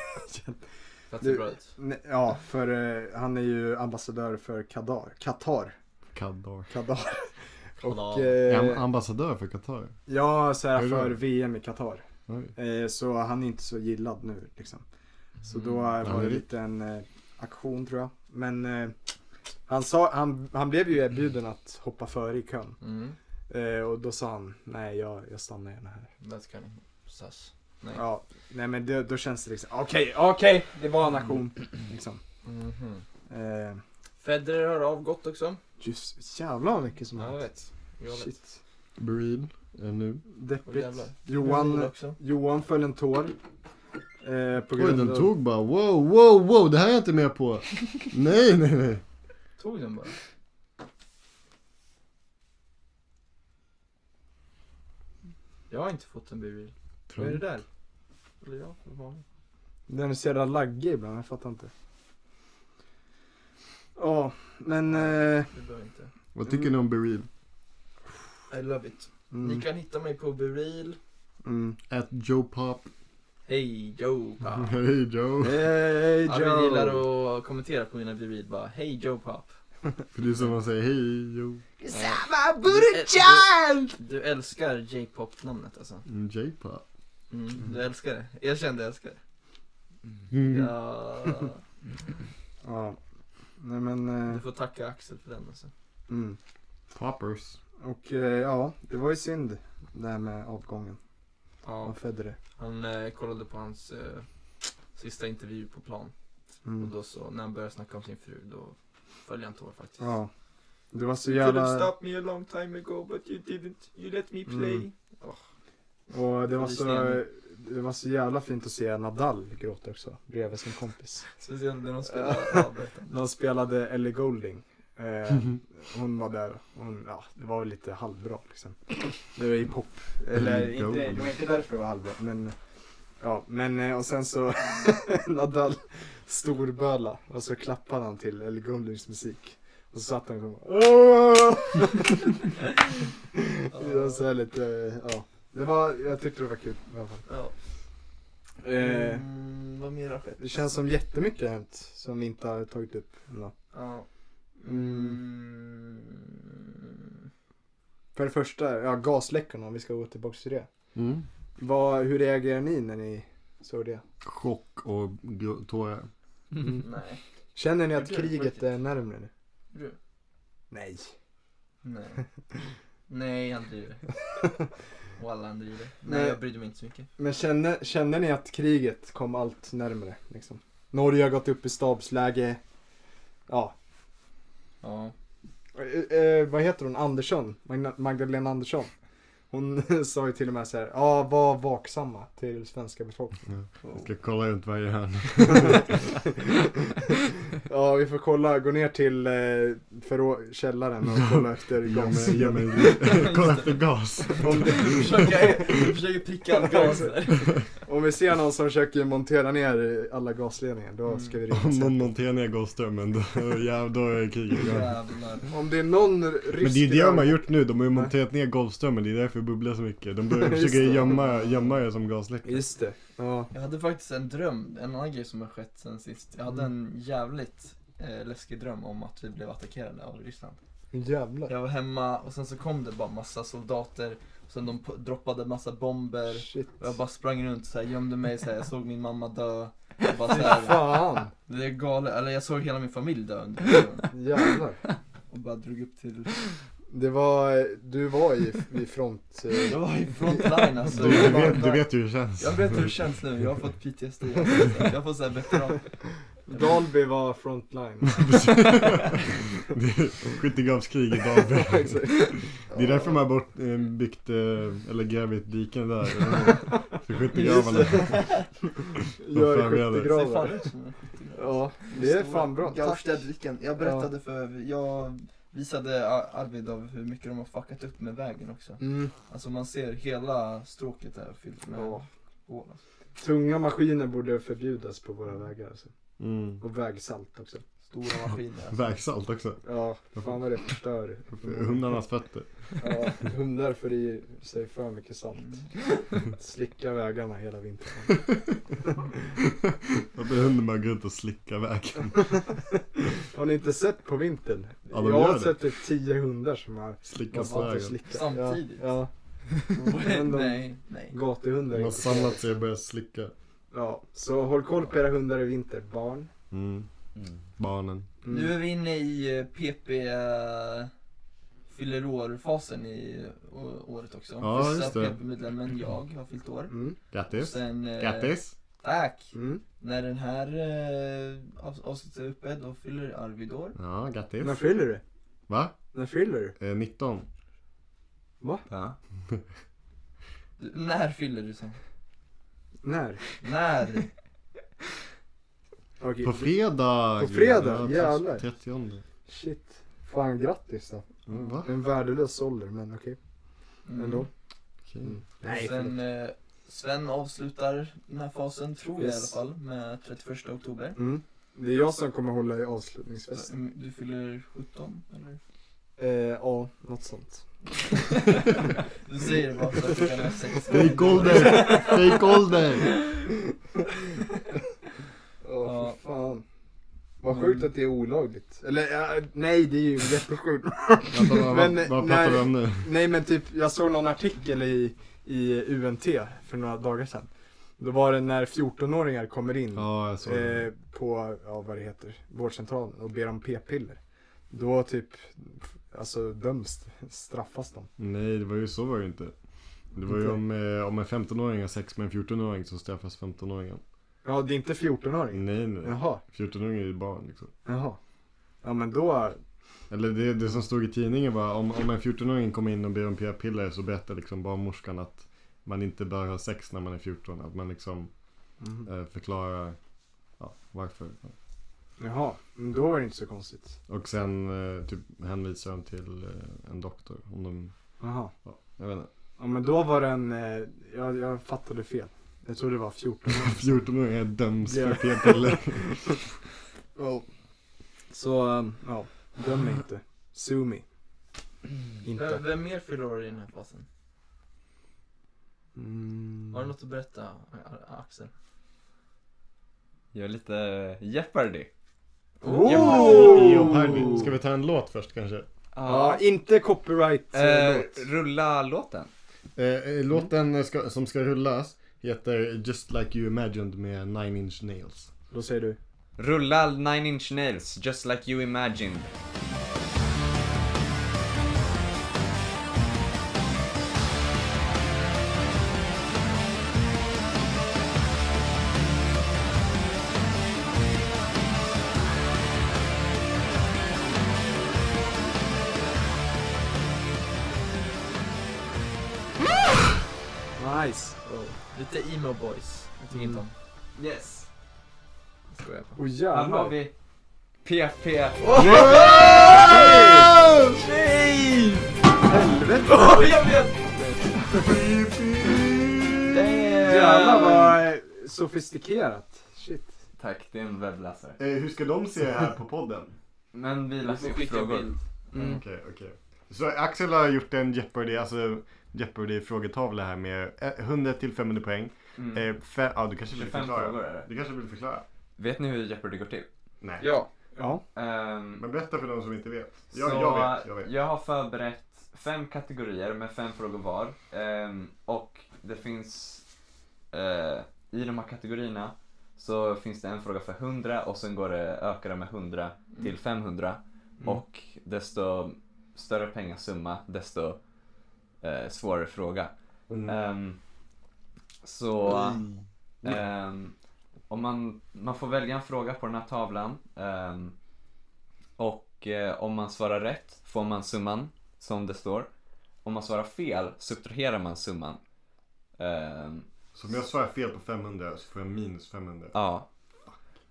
Speaker 4: För att
Speaker 1: Du-
Speaker 4: det bra ut.
Speaker 1: Nej, Ja, för eh, han är ju ambassadör för Kadar, Qatar.
Speaker 3: Kadar.
Speaker 1: Kadar. Och,
Speaker 4: Kolla.
Speaker 3: Är han
Speaker 1: eh,
Speaker 3: ambassadör för Qatar?
Speaker 1: ja, så här
Speaker 3: Hur då?
Speaker 1: för VM i Qatar.
Speaker 3: Oj.
Speaker 1: Eh, så han är inte så gillad nu liksom. Så
Speaker 4: Mm.
Speaker 1: då eh,
Speaker 3: Han
Speaker 1: var
Speaker 3: Mm. är
Speaker 1: det
Speaker 3: rik.
Speaker 1: lite en eh, aktion tror jag. Men eh, han, sa, han, han blev ju erbjuden att hoppa före i kön.
Speaker 4: Mm,
Speaker 1: Eh, och då sa han, nej jag, jag stannar gärna här.
Speaker 4: that's kind of sus. Nej.
Speaker 1: Ja, nej men då, då känns det liksom, okej, okej, det var en aktion. Liksom.
Speaker 4: Mhm.
Speaker 1: Eh,
Speaker 4: Federer har avgått också.
Speaker 1: just, jävlar vad mycket som
Speaker 4: Ja, jag
Speaker 1: hänt.
Speaker 4: vet. Jag vet.
Speaker 1: Shit.
Speaker 3: Breed. Är nu.
Speaker 4: Åh, jävlar.
Speaker 1: Deppigt.
Speaker 4: Jag
Speaker 1: Johan,
Speaker 4: också.
Speaker 1: Johan föll en tår. Eh, på
Speaker 3: Oj,
Speaker 1: grund
Speaker 3: den
Speaker 1: av...
Speaker 3: tog bara wow, wow, wow, det här är jag inte med på. Nej, nej, nej.
Speaker 4: Tog den bara. Jag har inte fått en BB. Vad är det där? Eller ja, vad var det?
Speaker 1: Den är så jävla laggig ibland, jag fattar inte. Ja, eh, men... Eh,
Speaker 4: Det behöver inte.
Speaker 3: Vad tycker ni om Bereal?
Speaker 4: I love it.
Speaker 1: Mm.
Speaker 4: Ni kan hitta mig på Buril.
Speaker 1: Mm.
Speaker 3: At Joe Pop.
Speaker 4: [laughs] Hej Joe
Speaker 3: [laughs]
Speaker 4: Pop.
Speaker 3: Hej Joe.
Speaker 1: Hey,
Speaker 4: Ja,
Speaker 1: Eh, Joe!
Speaker 4: vi gillar att kommentera på mina Buril bara Hej Joe Pop.
Speaker 3: För det är som man säger, hej Joe.
Speaker 4: Buddha child! Du, du älskar J-pop namnet alltså.
Speaker 3: Mm, J-Pop.
Speaker 4: Mm, du älskar det. Jag kände jag älskar det.
Speaker 3: Mm.
Speaker 4: Ja,
Speaker 1: Ja. Nej men, eh,
Speaker 4: du får tacka Axel för den alltså.
Speaker 1: mm.
Speaker 3: Poppers.
Speaker 1: och eh, ja, det var ju synd det här med avgången av
Speaker 4: Ja,
Speaker 1: Federer.
Speaker 4: han eh, kollade på hans eh, sista intervju på plan.
Speaker 1: Mm.
Speaker 4: Och då så, när han började snacka om sin fru, då följde han tår faktiskt.
Speaker 1: Ja. Det var så
Speaker 4: You couldn't
Speaker 1: jävla,
Speaker 4: stop me a long time ago but you didn't, you let me play.
Speaker 1: Mm. och det var så,
Speaker 4: Visningen.
Speaker 1: det var så jävla fint att se Nadal gråta också, bredvid sin kompis.
Speaker 4: Speciellt när de spelar avrättande.
Speaker 1: De spelade Ellie Golding. Eh, hon var där. Hon, ja, det var väl lite halvbra liksom. Det var ju pop. Eller
Speaker 3: Ellie
Speaker 1: inte, det
Speaker 3: Goulding.
Speaker 1: var inte därför det var halvbra. Men, ja, men eh, och sen så [laughs] Nadal storböla och så klappade han till Ellie Goldings musik. Och så satt han och bara, "Åh!" [laughs] Det var så här lite, eh, ja. Det var, jag tyckte det var kul i alla fall.
Speaker 4: Ja.
Speaker 1: Eh,
Speaker 4: Mm, vad mer har skett?
Speaker 1: det känns som jättemycket har hänt som vi inte har tagit upp ändå.
Speaker 4: Ja. Mm.
Speaker 1: För det första, ja gasläckorna om vi ska gå tillbaka till det.
Speaker 3: Mm.
Speaker 1: Vad, hur reagerar ni när ni såg det?
Speaker 3: Chock och gro- tårar.
Speaker 4: Mm.
Speaker 1: Mm.
Speaker 4: Nej.
Speaker 1: Känner ni att
Speaker 4: Det blir
Speaker 1: kriget
Speaker 4: riktigt.
Speaker 1: är närmare nu?
Speaker 4: Du?
Speaker 1: Nej.
Speaker 4: Nej. Nej, han
Speaker 1: [laughs]
Speaker 4: driver. Och alla han driver. Nej,
Speaker 1: Nej.
Speaker 4: jag brydde mig inte så mycket.
Speaker 1: Men känner, känner ni att kriget kom allt närmare? Liksom? Norge har gått upp i stabsläge. Ja.
Speaker 4: Ja.
Speaker 1: Eh, eh, vad heter hon? Andersson? Magna- Magdalena Andersson? Hon [laughs] sa ju till och med så här, ja var vaksamma till svenska befolkningen.
Speaker 3: Jag ska kolla runt varje hörn.
Speaker 1: ja vi får kolla, gå ner till eh, förrå- källaren och kolla efter
Speaker 3: Ge
Speaker 1: gas.
Speaker 3: mig, ge mig.
Speaker 1: [laughs]
Speaker 3: Kolla efter gas.
Speaker 1: Om det-
Speaker 4: Försöker, försöker pricka en gas där.
Speaker 1: Om vi ser någon som försöker montera ner alla gasledningar, då ska vi
Speaker 3: Om
Speaker 1: ringa.
Speaker 3: någon monterar ner gasströmmen, då, ja, då är kriget igång.
Speaker 4: Jävlar.
Speaker 1: Om det är någon rysk
Speaker 3: Men det är ju det de har
Speaker 1: rör-
Speaker 3: gjort nu, de har ju monterat ner golfströmmen, det är därför det bubblar så mycket. De börjar
Speaker 1: [laughs] Just
Speaker 3: försöka
Speaker 1: det.
Speaker 3: gömma, gömma det som gasläckor.
Speaker 1: Just det. Ja.
Speaker 4: Jag hade faktiskt en dröm, en annan grej som har skett sen sist. Jag hade en jävligt eh, läskig dröm om att vi blev attackerade av Ryssland.
Speaker 1: Jävlar.
Speaker 4: Jag var hemma och sen så kom det bara massa soldater. Sen de po- droppade massa bomber.
Speaker 1: Shit.
Speaker 4: Och jag bara sprang runt så här, gömde mig så här, jag såg min mamma dö. Jag bara så här,
Speaker 1: Fan.
Speaker 4: det är galet, eller jag såg hela min familj dö under tiden.
Speaker 1: Jävlar.
Speaker 4: Och bara drog upp till,
Speaker 1: Det var, du var i, i front. eh,
Speaker 4: jag var i frontline alltså.
Speaker 3: Du, du,
Speaker 4: Jag, bara,
Speaker 3: vet, du vet ju hur det känns.
Speaker 4: jag vet hur det känns nu, jag har fått PTSD. alltså. [laughs] Jag får såhär veteran.
Speaker 1: Dalby var frontline.
Speaker 3: Det är [laughs] skyttegravskrig i Dalby.
Speaker 1: [laughs] Exakt.
Speaker 3: Det är därför man har bort, eh, byggt, eh, eller grävt ett
Speaker 1: [laughs]
Speaker 3: diken där. För skyttegravarna.
Speaker 1: Gör
Speaker 3: fan gör det?
Speaker 4: Ser fan
Speaker 1: skyttegravar.
Speaker 4: ut som en skyttegrav.
Speaker 1: Ja, det är fan bra. Tack.
Speaker 4: Gaustadviken. Jag berättade för, jag visade A- Arvid av hur mycket de har fuckat upp med vägen också.
Speaker 1: Mm.
Speaker 4: Alltså man ser hela stråket där fyllt med
Speaker 1: Ja.
Speaker 4: hål. Alltså.
Speaker 1: Tunga maskiner borde förbjudas på våra vägar. Alltså.
Speaker 3: Mm.
Speaker 1: Och vägsalt också.
Speaker 4: Stora maskiner.
Speaker 3: [laughs]
Speaker 4: Alltså.
Speaker 3: Vägsalt också.
Speaker 1: Ja, fan vad det förstör.
Speaker 3: För
Speaker 1: [laughs]
Speaker 3: hundarnas fötter.
Speaker 1: Ja, hundar får i sig för mycket salt. Slicka vägarna hela
Speaker 3: [laughs]
Speaker 1: vintern.
Speaker 3: Varför hunden bara går runt och slickar vägen?
Speaker 1: Har ni inte sett på vintern?
Speaker 3: Ja, de
Speaker 1: jag
Speaker 3: gör
Speaker 1: har
Speaker 3: det.
Speaker 1: sett typ tio hundar som har
Speaker 3: Slickar
Speaker 1: varit
Speaker 3: på
Speaker 1: och
Speaker 3: vägen.
Speaker 1: slickat.
Speaker 4: Samtidigt?
Speaker 1: Ja.
Speaker 4: Mm.
Speaker 1: Men de-
Speaker 4: [laughs] nej, nej.
Speaker 1: ja. Gatuhundar.
Speaker 3: De har samlat sig och börjat slicka.
Speaker 1: Ja, så håll koll på era hundar i vinter, barn.
Speaker 3: Mm.
Speaker 5: Mm.
Speaker 3: Barnen.
Speaker 1: Mm.
Speaker 4: Nu är vi inne i eh, PP eh, fyller år-fasen i å- året också.
Speaker 3: Ja,
Speaker 4: Vissa
Speaker 3: just det.
Speaker 4: PP-medlemmen jag har fyllt år.
Speaker 1: Mm.
Speaker 4: Och
Speaker 3: Grattis.
Speaker 4: sen, eh,
Speaker 3: Grattis.
Speaker 4: Tack!
Speaker 1: Mm.
Speaker 4: När den här eh, av- avsnittet är uppe, då fyller Arvid år.
Speaker 3: Ja,
Speaker 1: När
Speaker 3: grattis.
Speaker 1: fyller du?
Speaker 3: Va?
Speaker 1: När fyller du?
Speaker 3: Eh, 19.
Speaker 5: Ja.
Speaker 4: Du, när fyller du sen?
Speaker 1: När?
Speaker 4: När?
Speaker 1: Okej.
Speaker 3: På fredag.
Speaker 1: På fredag?
Speaker 3: Ja,
Speaker 1: Jävlar.
Speaker 3: 30.
Speaker 1: Shit. Fan grattis då.
Speaker 3: Mm, va?
Speaker 1: En värdelös ålder, men okej.
Speaker 4: Mm.
Speaker 1: Ändå. Mm.
Speaker 3: Okej.
Speaker 1: Nej,
Speaker 4: sen eh, Sven avslutar den här fasen, tror jag
Speaker 1: Yes.
Speaker 4: i alla fall, med 31 oktober.
Speaker 1: Mm. Det är jag som kommer hålla i avslutningsfesten.
Speaker 3: [laughs]
Speaker 4: Mm, Du fyller 17, eller?
Speaker 1: Eh, ja, något sånt.
Speaker 4: Du säger det bara för att du kan ha sex.
Speaker 3: Fake ålder! Fake ålder!
Speaker 1: Ja,
Speaker 4: Ja. Mm.
Speaker 1: fy fan. Vad sjukt att det är olagligt. Eller ja, nej, det är ju jättesjukt.
Speaker 3: Vänta, vad,
Speaker 1: Men,
Speaker 3: vad, vad
Speaker 1: nej.
Speaker 3: pratar vi om nu?
Speaker 1: Nej men typ, jag såg någon artikel i, i UNT för några dagar sedan. Då var det när 14-åringar kommer in
Speaker 3: Ja, jag såg det.
Speaker 1: eh, på, ja vad det heter, vårdcentralen och ber om p-piller. Då typ, alltså döms, straffas de.
Speaker 3: Nej, det var ju så var det ju inte. Det var ju
Speaker 1: Inte?
Speaker 3: om, eh, om en 15-åring har sex med en 14-åring så straffas 15-åringen.
Speaker 1: Ja, det är inte 14-åringar?
Speaker 3: Nej, nej.
Speaker 1: Jaha,
Speaker 3: 14-åringen är ju barn liksom.
Speaker 1: jaha. Ja men då,
Speaker 3: Eller det, det som stod i tidningen var om, om en 14-åring kommer in och ber om p-piller så berättar liksom barnmorskan att man inte bör ha sex när man är 14. Att man liksom
Speaker 1: Mhm.
Speaker 3: eh, förklarar ja, varför.
Speaker 1: jaha, men då var det inte så konstigt.
Speaker 3: Och sen eh, typ hänvisar de till eh, en doktor. Om de,
Speaker 1: Jaha.
Speaker 3: ja, jag vet inte. [laughs]
Speaker 1: Ja men då var den, eh, jag, jag fattade fel. Jag trodde det var 14
Speaker 3: 14-åringar döms
Speaker 1: Ja.
Speaker 3: för p-piller.
Speaker 1: Ja. Så, ehm, ja. Döm mig inte. Sue me. Inte.
Speaker 3: Mm.
Speaker 4: Vem, vem mer fyller år i den här fasen?
Speaker 1: Mm.
Speaker 4: Har du något att berätta, A- A- Axel?
Speaker 5: Jag är lite Jeopardy.
Speaker 1: [laughs] Oh!
Speaker 3: Jeopardy. Ska vi ta en låt först kanske?
Speaker 1: Ja, inte copyright eh,
Speaker 5: Eh,
Speaker 1: låt.
Speaker 5: rulla låten.
Speaker 3: Eh, eh, låten ska, som ska rullas heter Just Like You Imagined med Nine Inch Nails.
Speaker 1: Då säger du.
Speaker 5: Rulla Nine Inch Nails, just like you imagined.
Speaker 1: Nice.
Speaker 4: Lite emo boys. Jag tycker inte om.
Speaker 5: Yes.
Speaker 4: Skojar bara.
Speaker 1: Åh
Speaker 5: Här har
Speaker 1: jävlar.
Speaker 5: vi PP.
Speaker 1: Jävlar vad eh, sofistikerat. Shit.
Speaker 5: Tack, det är en webbläsare.
Speaker 3: Eh, hur ska de se det här på podden? [laughs]
Speaker 5: Men vi läser upp frågor.
Speaker 4: Mm.
Speaker 3: Okej, okej. Så Axel har gjort en Jeopardy, alltså Jeopardy frågetavla här med eh, 100 till 500 poäng.
Speaker 5: Mm.
Speaker 3: Eh, fe- ja, du kanske vill
Speaker 5: 25
Speaker 3: förklara?
Speaker 5: frågor är det.
Speaker 3: Du kanske vill förklara?
Speaker 5: Vet ni hur Jeopardy går till?
Speaker 3: Nej.
Speaker 5: Ja.
Speaker 1: Ja.
Speaker 3: Men berätta för de som inte vet.
Speaker 5: så,
Speaker 3: Jag, jag vet, jag vet.
Speaker 5: har förberett fem kategorier med fem frågor var. Ehm, och det finns, eh, i de här kategorierna så finns det en fråga för 100 och sen går det, ökar det med 100 till 500. Och desto större pengasumma, desto eh, svårare fråga.
Speaker 3: Mm.
Speaker 5: Ehm, så...
Speaker 1: Mm.
Speaker 5: Ehm, om man, man får välja en fråga på den här tavlan. ehm, och eh, om man svarar rätt får man summan som det står. Om man svarar fel subtraherar man summan. Ehm,
Speaker 3: Så om jag svarar fel på 500 så får jag minus 500.
Speaker 5: ja.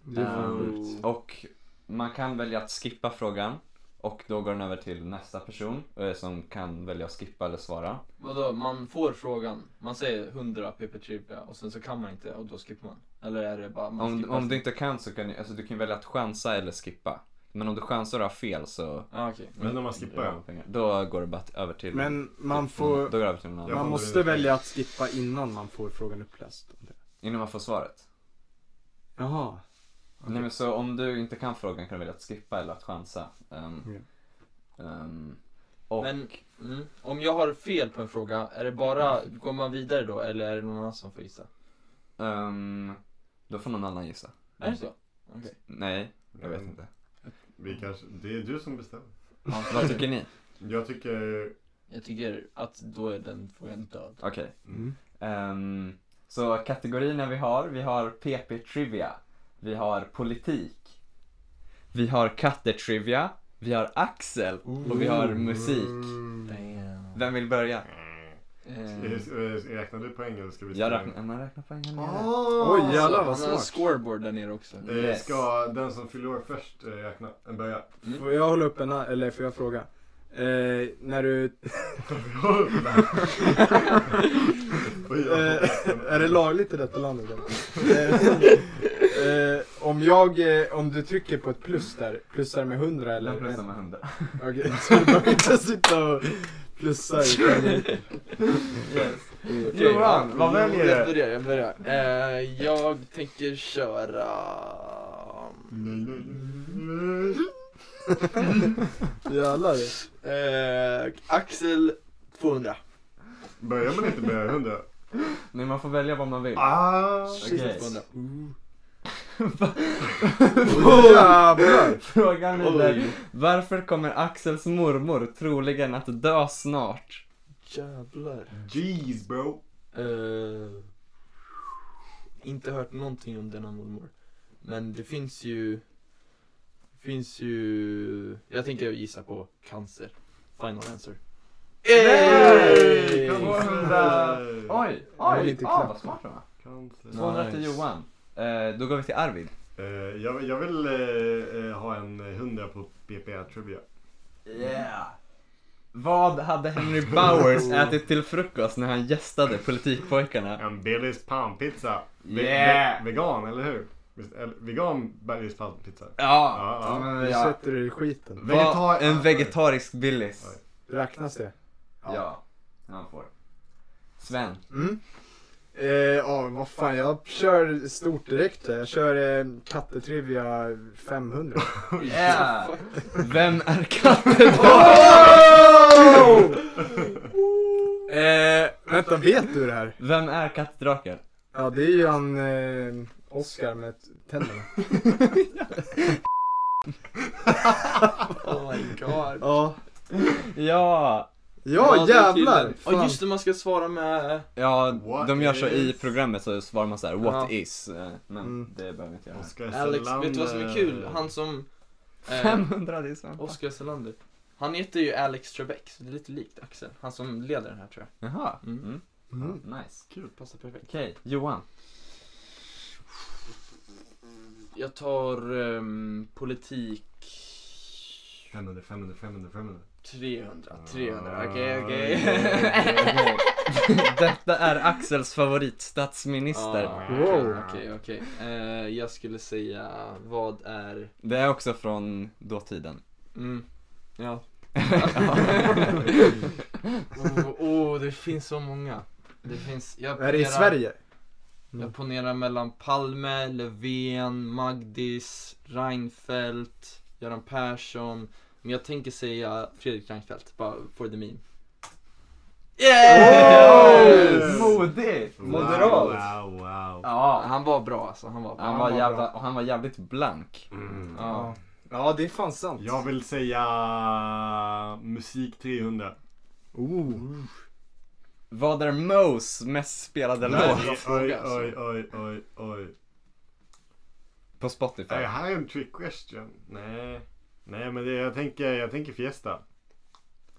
Speaker 1: Det är fan
Speaker 5: Ehm,
Speaker 1: sjukt.
Speaker 5: och man kan välja att skippa frågan. Och då går den över till nästa person eh, som kan välja att skippa eller svara.
Speaker 4: Vadå, man får frågan, man säger 100 pp och sen så kan man inte och då skippar man? Eller är det bara man
Speaker 5: Om,
Speaker 4: skippar?
Speaker 5: om du inte kan så kan du, alltså, du kan välja att chansa eller skippa. Men om du chansar och har fel så
Speaker 4: Ah, okej.
Speaker 3: Men om man skippar den?
Speaker 5: Då går det bara till- över till
Speaker 1: Um, Men man
Speaker 5: Då
Speaker 1: får...
Speaker 5: går det över till någon annan.
Speaker 3: Ja.
Speaker 1: Man måste välja att skippa innan man får frågan uppläst.
Speaker 5: Innan man får svaret.
Speaker 1: Jaha.
Speaker 5: Nej men så om du inte kan frågan kan du välja att skippa eller att chansa. Ehm,
Speaker 1: Okej.
Speaker 5: ehm, och
Speaker 4: Men mm, om jag har fel på en fråga, är det bara, går man vidare då eller är det någon annan som får gissa?
Speaker 5: ehm, då får någon annan gissa.
Speaker 4: Är det så? Okej.
Speaker 5: Nej, jag vet
Speaker 3: Mm.
Speaker 5: inte.
Speaker 3: Vi kanske, det är du som bestämmer.
Speaker 4: [laughs]
Speaker 5: Vad tycker ni?
Speaker 3: Jag tycker
Speaker 4: Jag tycker att då är den frågan död.
Speaker 5: Okej.
Speaker 1: Mm.
Speaker 5: Ehm, så kategorierna vi har, vi har PP Trivia, vi har politik, vi har Katte Trivia, vi har Axel och vi har musik.
Speaker 3: Mm.
Speaker 4: Damn.
Speaker 5: Vem vill börja? Ehm,
Speaker 4: Eh,
Speaker 3: Eh, Räknar du poäng eller ska vi
Speaker 5: Jag räknar, man räknar poängen. Oh.
Speaker 1: Oj jävlar vad
Speaker 4: han har en
Speaker 1: smart.
Speaker 4: Alltså, scoreboard där nere också.
Speaker 3: Eh,
Speaker 5: Yes.
Speaker 3: Ska den som fyller år först eh, räkna? Eh, Börja.
Speaker 1: Får jag hålla upp en, a- eller får jag fråga? Eh, när du
Speaker 3: Börja.
Speaker 1: Eh, är det lagligt i detta landet? eller? Eh, eh, Om jag, eh, om du trycker på ett plus där, plussar med 100 eller?
Speaker 5: Jag plussar med 100.
Speaker 1: Okej, [laughs] så du behöver inte sitta och plussa. utan-
Speaker 5: [laughs] Johan, vad väljer
Speaker 4: Jag
Speaker 5: du?
Speaker 4: börjar, jag börjar. Eh, jag tänker köra...
Speaker 1: Jävlar.
Speaker 4: Eh, Axel 200.
Speaker 3: Börjar man inte med 100?
Speaker 5: Nej, man får välja vad man vill. [laughs]
Speaker 3: Ah!
Speaker 5: Okej. Mm.
Speaker 4: 200.
Speaker 5: Oh,
Speaker 1: Jävlar.
Speaker 5: Frågan lyder,
Speaker 4: Oj.
Speaker 5: varför kommer Axels mormor troligen att dö snart?
Speaker 4: Jävlar.
Speaker 3: Jeez bro!
Speaker 4: Eh, inte hört någonting om denna mormor. Men det finns ju... Det finns ju... Jag tänker gissa på cancer. Final answer.
Speaker 5: Nej!
Speaker 4: Hey!
Speaker 5: 200! Oj,
Speaker 1: vill
Speaker 5: oj,
Speaker 1: inte
Speaker 5: ah,
Speaker 1: klappa.
Speaker 5: vad smart va?
Speaker 3: Cancer.
Speaker 5: 200 till Johan. Eh, då går vi till Arvid.
Speaker 3: Eh, jag, jag vill eh, eh, ha en 100 på PPA Trivia.
Speaker 5: Yeah. Vad hade Henry Bowers ätit till frukost när han gästade Politikpojkarna?
Speaker 3: En Baileys panpizza. Ve-
Speaker 5: Yeah!
Speaker 3: ve- vegan, eller hur? Visst, eller, vegan Baileys panpizza.
Speaker 5: Ja,
Speaker 3: Ja, ja.
Speaker 1: Du
Speaker 5: Ja.
Speaker 1: sätter dig i skiten.
Speaker 5: Var
Speaker 3: Vegetar-
Speaker 5: en vegetarisk Billys.
Speaker 1: Räknas det?
Speaker 5: Ja, han får. Sven.
Speaker 1: Mm. Eh, ja, vad fan, jag kör stort direkt här. Jag kör eh, kattetrivia 500.
Speaker 5: Yeah. Vem är katten?
Speaker 3: Oh!
Speaker 1: eh, [laughs] vänta, vet du det här?
Speaker 5: Vem är kattdraken?
Speaker 1: Ja, det är ju han eh, Oscar med tänderna.
Speaker 4: Oh my god.
Speaker 1: Ja,
Speaker 5: Ja,
Speaker 1: ja
Speaker 4: det är
Speaker 1: jävlar!
Speaker 4: killen. Ja just det, man ska svara med... eh,
Speaker 5: ja
Speaker 3: What
Speaker 5: de gör så i
Speaker 3: is-
Speaker 5: programmet så svarar man så här what
Speaker 4: Ja.
Speaker 5: is. eh, Men
Speaker 1: Mm.
Speaker 5: det behöver vi inte göra. här.
Speaker 3: Oscar
Speaker 4: Alex,
Speaker 3: Selander.
Speaker 4: vet du vad som är kul? Han som... Eh,
Speaker 5: 500 det är Sven.
Speaker 4: Oscar Selander. Han heter ju Alex Trebek, så det är lite likt Axel. Han som leder den här tror
Speaker 5: Jaha.
Speaker 4: Mm.
Speaker 5: Mm.
Speaker 1: Mm.
Speaker 5: Nice.
Speaker 4: jag. Kul, passar perfekt.
Speaker 5: Okej, Johan.
Speaker 6: Jag tar ehm, politik
Speaker 3: 500, 500, 500, 500.
Speaker 4: [laughs] 300, 300, okej okej.
Speaker 3: Ah,
Speaker 5: Okej. Detta är Axels
Speaker 4: [laughs]
Speaker 5: favoritstatsminister.
Speaker 4: Ah,
Speaker 1: Wow.
Speaker 4: Okej, okej. Eh, jag skulle säga, vad är...
Speaker 5: Det är också från dåtiden.
Speaker 4: Mm. Ja. [laughs] oh, oh, det finns så många. Det finns... Jag
Speaker 1: Är det i
Speaker 4: ponerar-
Speaker 1: Sverige?
Speaker 4: Jag ponerar mellan Palme, Löfven, Magdis, Reinfeldt, Göran Persson. Men jag tänker säga Fredrik Reinfeldt, bara for the meme.
Speaker 5: Yes!
Speaker 3: Wow!
Speaker 5: Modigt! Moderat!
Speaker 3: Wow, wow.
Speaker 5: Ja,
Speaker 4: Han var bra alltså, han var bra.
Speaker 5: han var, jävla, och han var jävligt blank.
Speaker 3: Mm.
Speaker 5: Ja.
Speaker 1: Ja, det är fan sant.
Speaker 3: Jag vill säga musik 300.
Speaker 1: Oh.
Speaker 5: Vad är Moes mest spelade låt
Speaker 3: oj, oj, oj,
Speaker 5: alltså.
Speaker 3: oj, oj, oj.
Speaker 5: på Spotify?
Speaker 3: Är det här en trick question? Nej. Nej men det, jag, tänker, jag tänker Fiesta.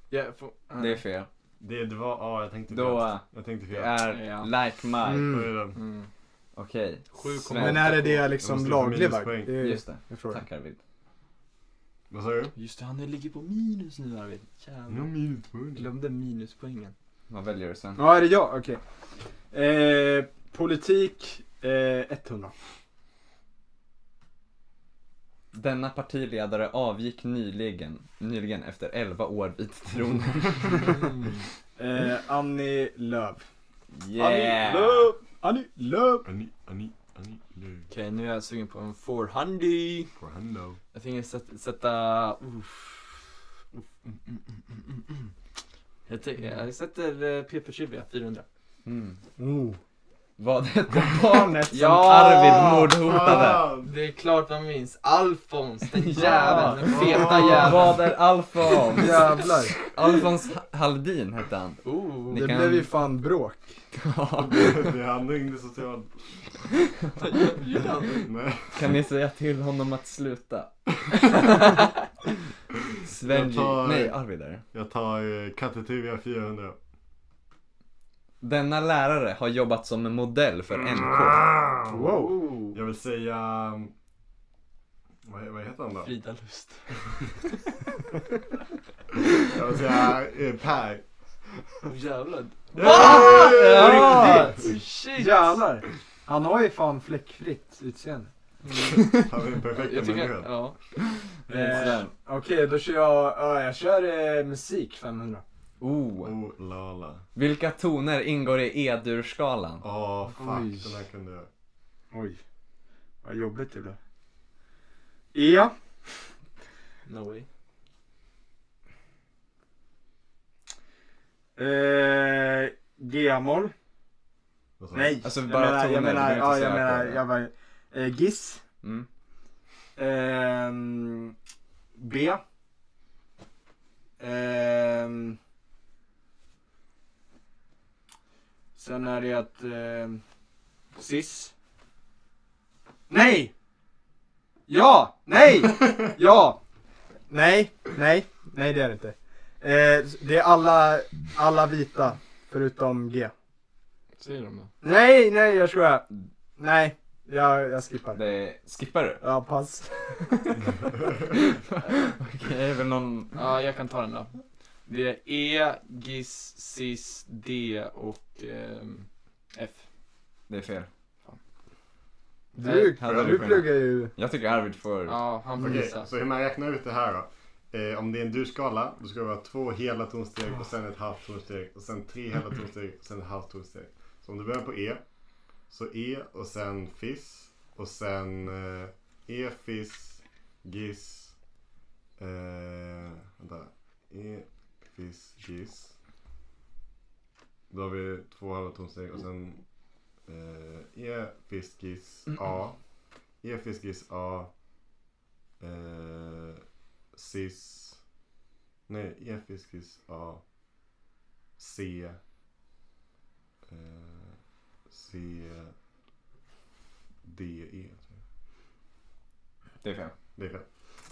Speaker 4: Jag får-
Speaker 5: Det är fel.
Speaker 3: Det, det var, ja jag tänkte
Speaker 5: Då,
Speaker 3: fel. Jag tänkte
Speaker 5: Det
Speaker 3: fel.
Speaker 5: är
Speaker 4: Ja.
Speaker 5: Like Mike.
Speaker 1: Mm.
Speaker 3: Oj då.
Speaker 4: Mm.
Speaker 5: Okej,
Speaker 4: Sju komma-
Speaker 5: Sven.
Speaker 1: Men är det det
Speaker 3: Jag
Speaker 1: liksom
Speaker 3: måste få
Speaker 1: laglig vagg?
Speaker 3: minuspoäng.
Speaker 1: Det är-
Speaker 5: Just det,
Speaker 1: jag frågar.
Speaker 5: tack Arvid.
Speaker 3: Vad sa du?
Speaker 4: Just det, han ligger på minus nu Arvid. Jävlar.
Speaker 3: minuspoäng.
Speaker 4: Glömde minuspoängen.
Speaker 5: Vad väljer du Sven?
Speaker 1: Ja, är det jag? Okej. Eh, politik eh, 100.
Speaker 5: Denna partiledare avgick nyligen, nyligen efter 11 år vid tronen.
Speaker 1: Eh, Annie Lööf.
Speaker 5: Yeah!
Speaker 1: Annie Lööf! Annie Lööf!
Speaker 3: Annie, Annie, Annie, nu.
Speaker 4: Okej, nu är jag sugen på en 400.
Speaker 3: For hello.
Speaker 4: Jag tänker sätta... sätta uff. Uff, mm, mm, mm, mm, mm. Jag, tänker- jag sätter eh, PP20, 400.
Speaker 5: Mm.
Speaker 1: Oh.
Speaker 5: Vad hette barnet som
Speaker 4: Ja!
Speaker 5: Arvid mordhotade?
Speaker 4: Det är klart man minns. Alfons, [laughs] den
Speaker 5: Ja.
Speaker 4: jäveln, den feta
Speaker 3: Ja.
Speaker 4: jäveln.
Speaker 5: Vad är Alfons?
Speaker 1: Jävlar.
Speaker 5: Alfons Haldin hette han.
Speaker 4: Oh,
Speaker 5: Ni
Speaker 1: Det
Speaker 5: kan-
Speaker 1: blev ju fan bråk.
Speaker 3: Ah! Det han
Speaker 5: [laughs]
Speaker 3: ringde social. Nej.
Speaker 5: Kan ni säga till honom att sluta? Sven
Speaker 3: Jag tar-
Speaker 5: Nej, Arvid är det.
Speaker 3: Jag tar eh, Kattetuvia 400.
Speaker 5: Denna lärare har jobbat som en modell
Speaker 3: Mm.
Speaker 5: för NK.
Speaker 1: Wow.
Speaker 3: Jag vill säga... um, Vad, vad heter han då?
Speaker 4: Frida [laughs] Lust.
Speaker 3: Jag vill säga eh, Per.
Speaker 4: Oh, jävlar.
Speaker 5: Ja!
Speaker 4: Shit!
Speaker 1: Ah!
Speaker 4: Oh,
Speaker 1: Jävlar. Han har ju fan fläckfritt utseende.
Speaker 3: Han är den perfekta
Speaker 4: Jag tycker,
Speaker 3: människan.
Speaker 4: ja.
Speaker 1: Eh, Okej, då kör jag, ja, jag kör eh, musik 500.
Speaker 5: Oh.
Speaker 3: Oh la la.
Speaker 5: Vilka toner ingår i E-dur-skalan?
Speaker 3: Åh fuck,
Speaker 1: Oj.
Speaker 3: den här kunde jag.
Speaker 1: Oj, vad jobbigt det blev. Ja,
Speaker 4: No way.
Speaker 1: eh, G-moll.
Speaker 3: Vad sa du?
Speaker 1: Nej,
Speaker 5: Alltså,
Speaker 1: jag
Speaker 5: bara
Speaker 1: menar,
Speaker 5: toner,
Speaker 1: jag menar,
Speaker 5: du behöver
Speaker 1: ja,
Speaker 5: inte säga
Speaker 1: jag menar,
Speaker 5: ackord,
Speaker 1: jag var, eh, Giss.
Speaker 5: Mm.
Speaker 1: Ehm, B. Ehm, sen är det att ehm, Sis. Nej! Ja! Nej!
Speaker 5: [laughs]
Speaker 1: ja! Nej, nej, nej det är det inte. Eh, det är alla, alla vita förutom G.
Speaker 4: Säger de då?
Speaker 1: Nej, nej jag skojar. Nej, jag, jag skippar.
Speaker 5: Det är... Skippar du?
Speaker 1: Ja, pass.
Speaker 5: Okej, det är väl någon...
Speaker 4: Ja, jag kan ta den då. Det är E, GIS, SIS, D och ehm, F.
Speaker 5: Det är fel.
Speaker 1: Du,
Speaker 5: hade du
Speaker 1: du
Speaker 5: kunnat.
Speaker 1: pluggar ju.
Speaker 5: Jag tycker Arvid får...
Speaker 4: Ja, han får
Speaker 3: Okej,
Speaker 4: gissa.
Speaker 3: så hur man räknar ut det här då. Eh, om det är en durskala, då ska det vara två hela tonsteg och sen ett halvt tonsteg och sen tre hela tonsteg och sen ett halvt tonsteg. Så om du börjar på E, så E och sen fiss och sen eh, E, fiss, giss, eh, vänta, E, fiss, giss. Då har vi två halva tonsteg och sen eh, E, fiss, giss, A, E, fiss, giss, A, Eh, cis. Nej, E-fiskis A. C. Eh, C. D. E.
Speaker 5: Det är
Speaker 3: tror jag.
Speaker 5: fel.
Speaker 3: Det är fel.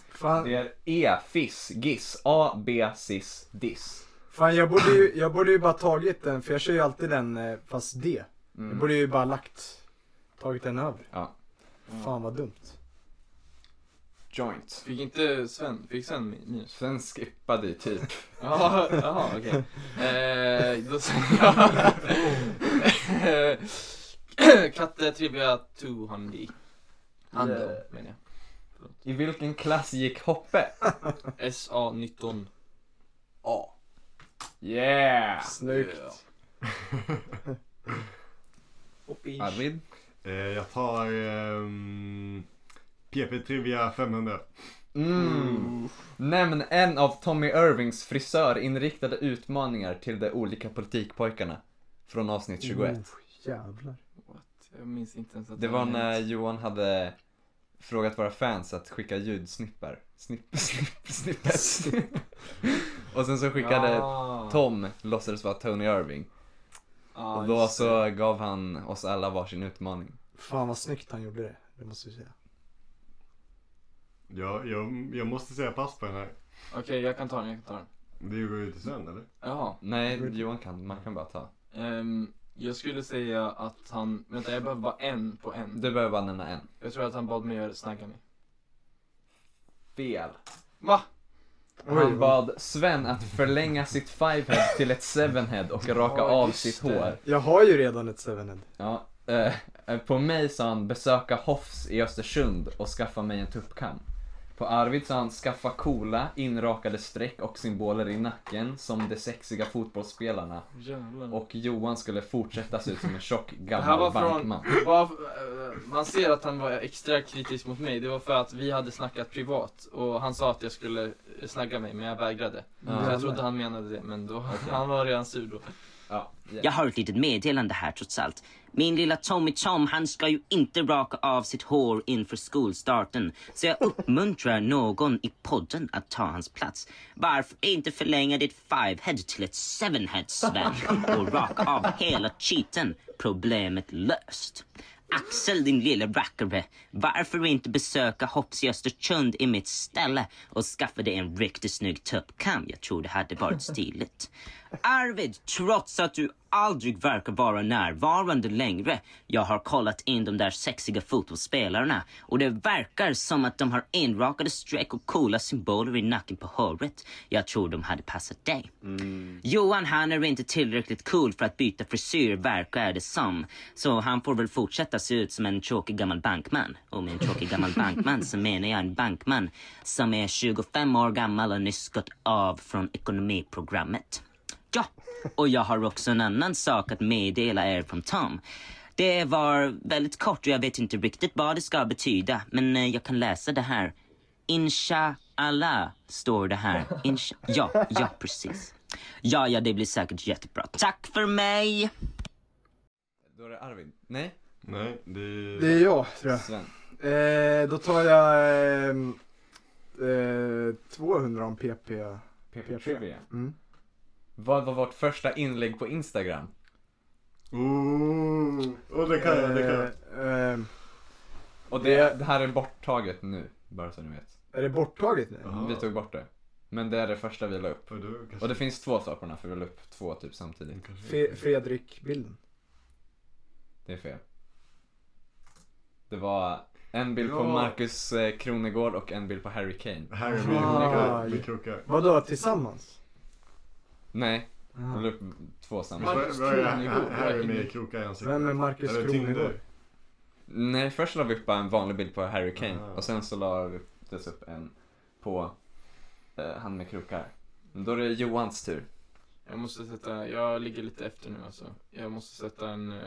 Speaker 1: Fan,
Speaker 5: Det är E, fiss, giss, A, B, cis, diss.
Speaker 1: fan jag, borde ju, jag borde ju bara tagit den, för jag kör ju alltid den eh, fast D. Jag
Speaker 5: Mm.
Speaker 1: borde ju bara lagt, tagit den över.
Speaker 5: Ja.
Speaker 1: Fan vad dumt.
Speaker 5: Joint.
Speaker 4: Fick inte Sven, fick Sven mi-
Speaker 3: [laughs]
Speaker 4: minus?
Speaker 5: Sen skippade ju typ.
Speaker 4: Ja, jaha, okej. Eh, då säger jag... Eh, [laughs] Katte Trivia 200. Hando, menar
Speaker 5: I vilken klass gick Hoppe?
Speaker 4: jag. SA19.
Speaker 5: A. Yeah!
Speaker 1: Snyggt.
Speaker 3: [laughs]
Speaker 4: Ja.
Speaker 5: Arvid?
Speaker 3: Eh, jag tar ehm, PP Trivia 500.
Speaker 5: Mm. Nämn en av Tommy Irvings frisörinriktade utmaningar till de olika politikpojkarna. Från avsnitt
Speaker 4: Mm.
Speaker 5: 21.
Speaker 1: Oh, jävlar.
Speaker 4: What? Jag minns inte ens att
Speaker 5: Det
Speaker 4: jag
Speaker 5: var
Speaker 4: minns.
Speaker 5: när Johan hade frågat våra fans att skicka ljudsnippar. Snipp, [laughs] snipp, snippet.
Speaker 4: [laughs]
Speaker 5: Och sen så skickade
Speaker 4: Ah.
Speaker 5: Tom, låtsades vara Tony Irving.
Speaker 4: Ja,
Speaker 5: Och då
Speaker 4: Ah, just det.
Speaker 5: så gav han oss alla varsin utmaning.
Speaker 1: Fan vad snyggt han gjorde det, det måste vi säga.
Speaker 3: Jag, jag, jag måste säga pass på den här.
Speaker 4: Okej, jag kan ta den, jag kan ta den.
Speaker 3: Det går ju till Sven eller?
Speaker 4: Jaha.
Speaker 5: Nej, Johan kan, man kan bara ta.
Speaker 4: ehm, jag skulle säga att han, vänta jag behöver bara en på en.
Speaker 5: Du behöver bara nämna en.
Speaker 4: Jag tror att han bad mig göra snagga mig.
Speaker 5: Fel.
Speaker 4: Va?
Speaker 5: Han bad Sven att förlänga sitt fivehead till ett sevenhead och raka
Speaker 4: Ja,
Speaker 5: av
Speaker 4: just
Speaker 5: sitt
Speaker 4: det.
Speaker 5: hår.
Speaker 1: Jag har ju redan ett 7
Speaker 5: Ja, eh, eh, på mig sa han besöka Hoffs i Östersund och skaffa mig en tuppkam. På Arvid sa han skaffa coola, inrakade streck och symboler i nacken som de sexiga fotbollsspelarna.
Speaker 4: Jävlar.
Speaker 5: Och Johan skulle fortsätta se ut som en tjock
Speaker 4: Det här var
Speaker 5: gammal
Speaker 4: från-
Speaker 5: bankman.
Speaker 4: Bara, eh, man ser att han var extra kritisk mot mig. Det var för att vi hade snackat privat och han sa att jag skulle eh, snagga mig men jag vägrade. Så jag trodde han menade det men då, [laughs] han var redan sur då.
Speaker 5: Ja,
Speaker 8: Jag har ett litet meddelande här trots allt. Min lilla Tommy Tom, han ska ju inte raka av sitt hår inför skolstarten. Så jag uppmuntrar någon i podden att ta hans plats. Varför inte förlänga ditt fivehead till ett sevenhead, Sven? Och raka av hela cheaten. Problemet löst. Axel, din lille rackare. Varför inte besöka Hopps i Östersund i mitt ställe och skaffa dig en riktigt snygg tuppkam? Jag tror det hade varit stiligt. Arvid, trots att du aldrig verkar vara närvarande längre. Jag har kollat in de där sexiga fotbollsspelarna och det verkar som att de har inrakade streck och coola symboler i nacken på håret. Jag tror de hade passat dig. Johan han är inte tillräckligt cool för att byta frisyr verkar det som. Så han får väl fortsätta se ut som en tråkig gammal bankman. Och med en tråkig gammal bankman så menar jag en bankman som är 25 år gammal och nyss gått av från ekonomiprogrammet. Ja, och jag har också en annan sak att meddela er från Tom. Det var väldigt kort och jag vet inte riktigt vad det ska betyda, men eh, jag kan läsa det här. Insha Allah står det här. Insha- ja, ja precis. Ja, ja, det blir säkert jättebra. Tack för mig!
Speaker 5: Då är det Arvid. Nej?
Speaker 3: Nej, det...
Speaker 1: Det är jag tror jag.
Speaker 5: Sven.
Speaker 1: Eh, då tar jag ehm, eh, 200 om PP.
Speaker 5: PP Trivia.
Speaker 1: Mm.
Speaker 5: Vad var vårt första inlägg på Instagram?
Speaker 3: Ooh. Oh, det kan jag, det kan jag.
Speaker 1: Eh, eh,
Speaker 5: Och det, det här är borttaget nu, bara så ni vet.
Speaker 1: är det borttaget nu?
Speaker 3: Jaha.
Speaker 5: Vi tog bort det. Men det är det första vi la upp.
Speaker 3: Och du kanske...
Speaker 5: Och det finns två sakerna för vi la upp två typ samtidigt.
Speaker 3: kanske-
Speaker 1: Fe- Fredrik-bilden.
Speaker 5: Det är fel. Det var en bild på
Speaker 3: Ja.
Speaker 5: Marcus eh, Kronegård och en bild på Harry Kane.
Speaker 3: Här är vi
Speaker 1: Ah,
Speaker 3: krockar. Vi
Speaker 1: ja.
Speaker 3: krockar.
Speaker 1: Vadå, tillsammans?
Speaker 5: Nej, vi
Speaker 1: Jaha.
Speaker 5: la upp två samtidigt.
Speaker 3: Marcus Kronegård. Här är med krokar i ansiktet.
Speaker 1: Vem är Marcus
Speaker 3: Eller Tinder.
Speaker 1: Kronegård?
Speaker 5: Nej, först la vi upp bara en vanlig bild på Harry Kane
Speaker 3: Aha.
Speaker 5: och sen så la vi dess upp en på eh, han med krokar. Men Då är det Johans tur.
Speaker 6: Jag måste sätta, jag ligger lite efter nu alltså. Jag måste sätta en eh,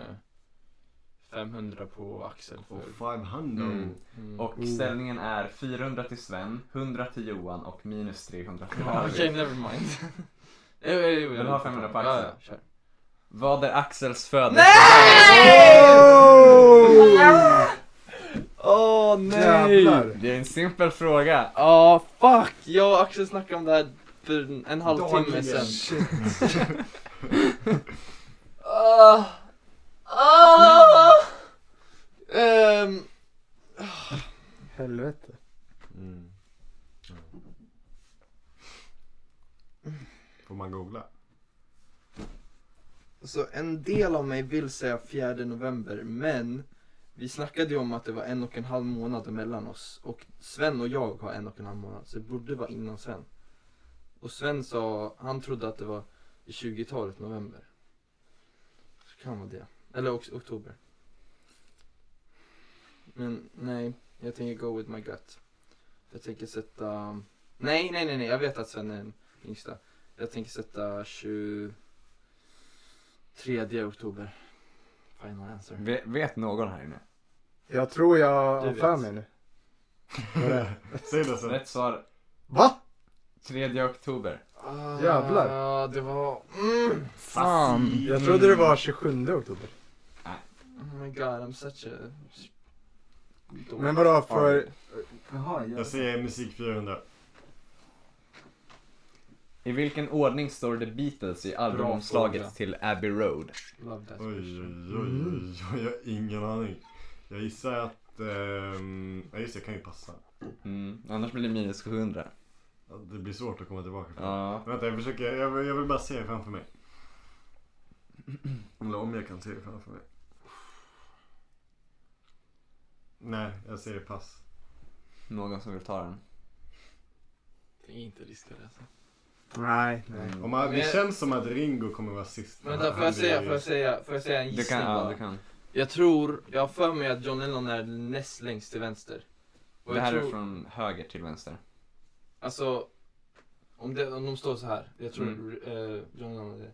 Speaker 6: 500 på Axel
Speaker 3: Och
Speaker 6: för...
Speaker 3: 500.
Speaker 5: Mm.
Speaker 6: Mm.
Speaker 5: Och ställningen är 400 till Sven, 100 till Johan och minus 300 till
Speaker 6: Ja,
Speaker 5: Harry.
Speaker 6: Okej, never mind. jo, jo, jo,
Speaker 5: Vill du ha 500 på
Speaker 6: Ja,
Speaker 5: Axel?
Speaker 6: ja, kör.
Speaker 5: Vad är Axels födelse?
Speaker 1: Oh!
Speaker 4: Åh nej!
Speaker 1: Jävlar.
Speaker 5: Det är en simpel fråga.
Speaker 4: Ja, fuck! Jag och Axel snackade om det här för en halvtimme sen. Ah. Ah. Ehm,
Speaker 1: Helvete.
Speaker 3: Mm. Ja. Får man googla?
Speaker 4: Så en del av mig vill säga 4 november, men vi snackade ju om att det var en och en halv månad mellan oss. Och Sven och jag har en och en halv månad, så det borde vara innan Sven. Och Sven sa, han trodde att det var i 20-talet november. Så kan vara det. Eller också oktober. Men nej, jag tänker go with my gut. Jag tänker sätta... Nej, nej, nej, nej, jag vet att Sven är den yngsta. Jag tänker sätta 20... 3 oktober. Final answer.
Speaker 5: Ve- vet någon här inne?
Speaker 1: Jag tror jag
Speaker 4: Du
Speaker 1: har
Speaker 4: vet.
Speaker 1: för mig nu.
Speaker 3: Säg det sen.
Speaker 5: Rätt svar
Speaker 1: Va?
Speaker 5: 3 oktober.
Speaker 4: Ah,
Speaker 1: Jävlar.
Speaker 4: Ja, det var... Mm, fan!
Speaker 1: Jag trodde det var 27 oktober.
Speaker 4: Oh my god, I'm such a...
Speaker 1: Men vadå för... Jaha,
Speaker 3: Jag säger musik 400.
Speaker 5: I vilken ordning står The Beatles i
Speaker 6: fråga.
Speaker 5: albumomslaget till Abbey Road?
Speaker 6: Love that.
Speaker 3: Oj, oj, oj,
Speaker 1: Mm.
Speaker 3: oj, oj, jag har ingen aning. Jag gissar att... ehm, Ja just det, jag kan ju passa.
Speaker 5: Mm. Annars blir det minus 700.
Speaker 3: Ja, Det blir svårt att komma tillbaka från.
Speaker 5: Ja.
Speaker 3: Vänta, jag försöker. Jag vill, jag vill bara se det framför mig. Eller om jag kan se det framför mig. Nej, jag säger pass.
Speaker 5: Någon som vill ta den?
Speaker 6: Tänk inte riska det alltså.
Speaker 1: Nej, nej.
Speaker 5: Mm.
Speaker 3: Om man, det
Speaker 4: Men-
Speaker 3: känns som att Ringo kommer vara sist.
Speaker 4: Vänta, får jag säga, får jag säga, får jag säga en
Speaker 5: Du
Speaker 4: gissning
Speaker 5: kan, ja,
Speaker 4: bara?
Speaker 5: du kan.
Speaker 4: Jag tror, jag har för mig att John Lennon är näst längst till vänster. Och
Speaker 5: Det
Speaker 4: jag
Speaker 5: här är
Speaker 4: tror,
Speaker 5: från höger till vänster.
Speaker 4: alltså, om, det, om de står så här, jag tror
Speaker 5: Mm.
Speaker 4: eh, John Lennon är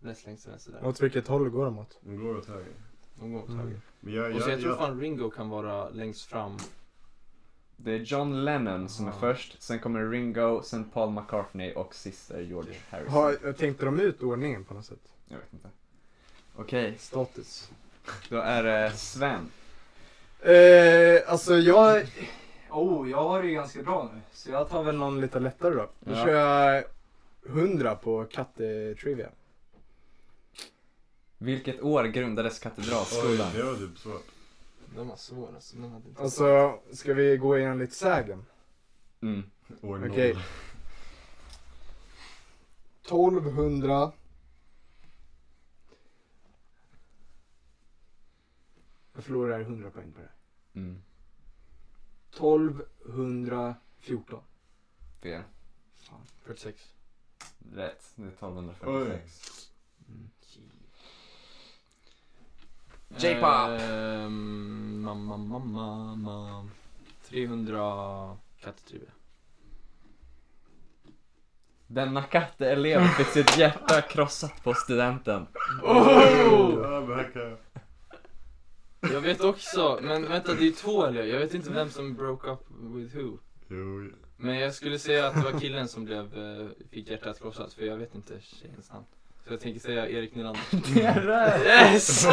Speaker 4: näst längst till vänster där.
Speaker 1: Åt vilket håll går de åt?
Speaker 3: De går åt höger.
Speaker 4: De går åt
Speaker 5: Mm.
Speaker 1: Mm.
Speaker 4: höger.
Speaker 3: Men jag,
Speaker 4: Och så
Speaker 3: jag,
Speaker 4: jag tror
Speaker 3: jag,
Speaker 4: fan Ringo kan vara längst fram.
Speaker 5: Det är John Lennon som är
Speaker 4: Ja.
Speaker 5: först, sen kommer Ringo, sen Paul McCartney och sist är George Harrison.
Speaker 1: Har, tänkte de ut ordningen på något sätt?
Speaker 5: Jag vet inte. Okej,
Speaker 1: Status.
Speaker 5: då är det Sven.
Speaker 1: Eh, alltså jag... Oh, jag har det ju ganska bra nu. Så jag tar väl någon lite lättare då. Då
Speaker 5: Ja.
Speaker 1: kör jag 100 på katte-trivia.
Speaker 5: Vilket år grundades
Speaker 3: oj,
Speaker 5: Katedralskolan?
Speaker 3: det var typ svårt.
Speaker 4: Den var svår alltså, den hade inte...
Speaker 1: Alltså, ska vi gå igenom lite sägen?
Speaker 5: Mm.
Speaker 3: [laughs] År noll.
Speaker 1: Okej. 1200 Jag förlorar 100 poäng på det.
Speaker 5: Mm.
Speaker 1: 1214.
Speaker 5: Fel.
Speaker 1: Fan.
Speaker 4: 46.
Speaker 5: Rätt. Det är 1246. J-pop.
Speaker 4: Ehm, Mamma, mamma, mamma. 300 katttrivier.
Speaker 5: Denna katteelev fick sitt hjärta krossat på studenten.
Speaker 4: Jag vet också, men vänta det är två eller? Jag vet inte vem som broke up with who.
Speaker 3: Jo,
Speaker 4: Men jag skulle säga att det var killen som blev, eh, fick hjärtat krossat för jag vet inte tjejens namn. Så jag tänker säga Erik Nylander.
Speaker 5: Det är rätt!
Speaker 4: Yes!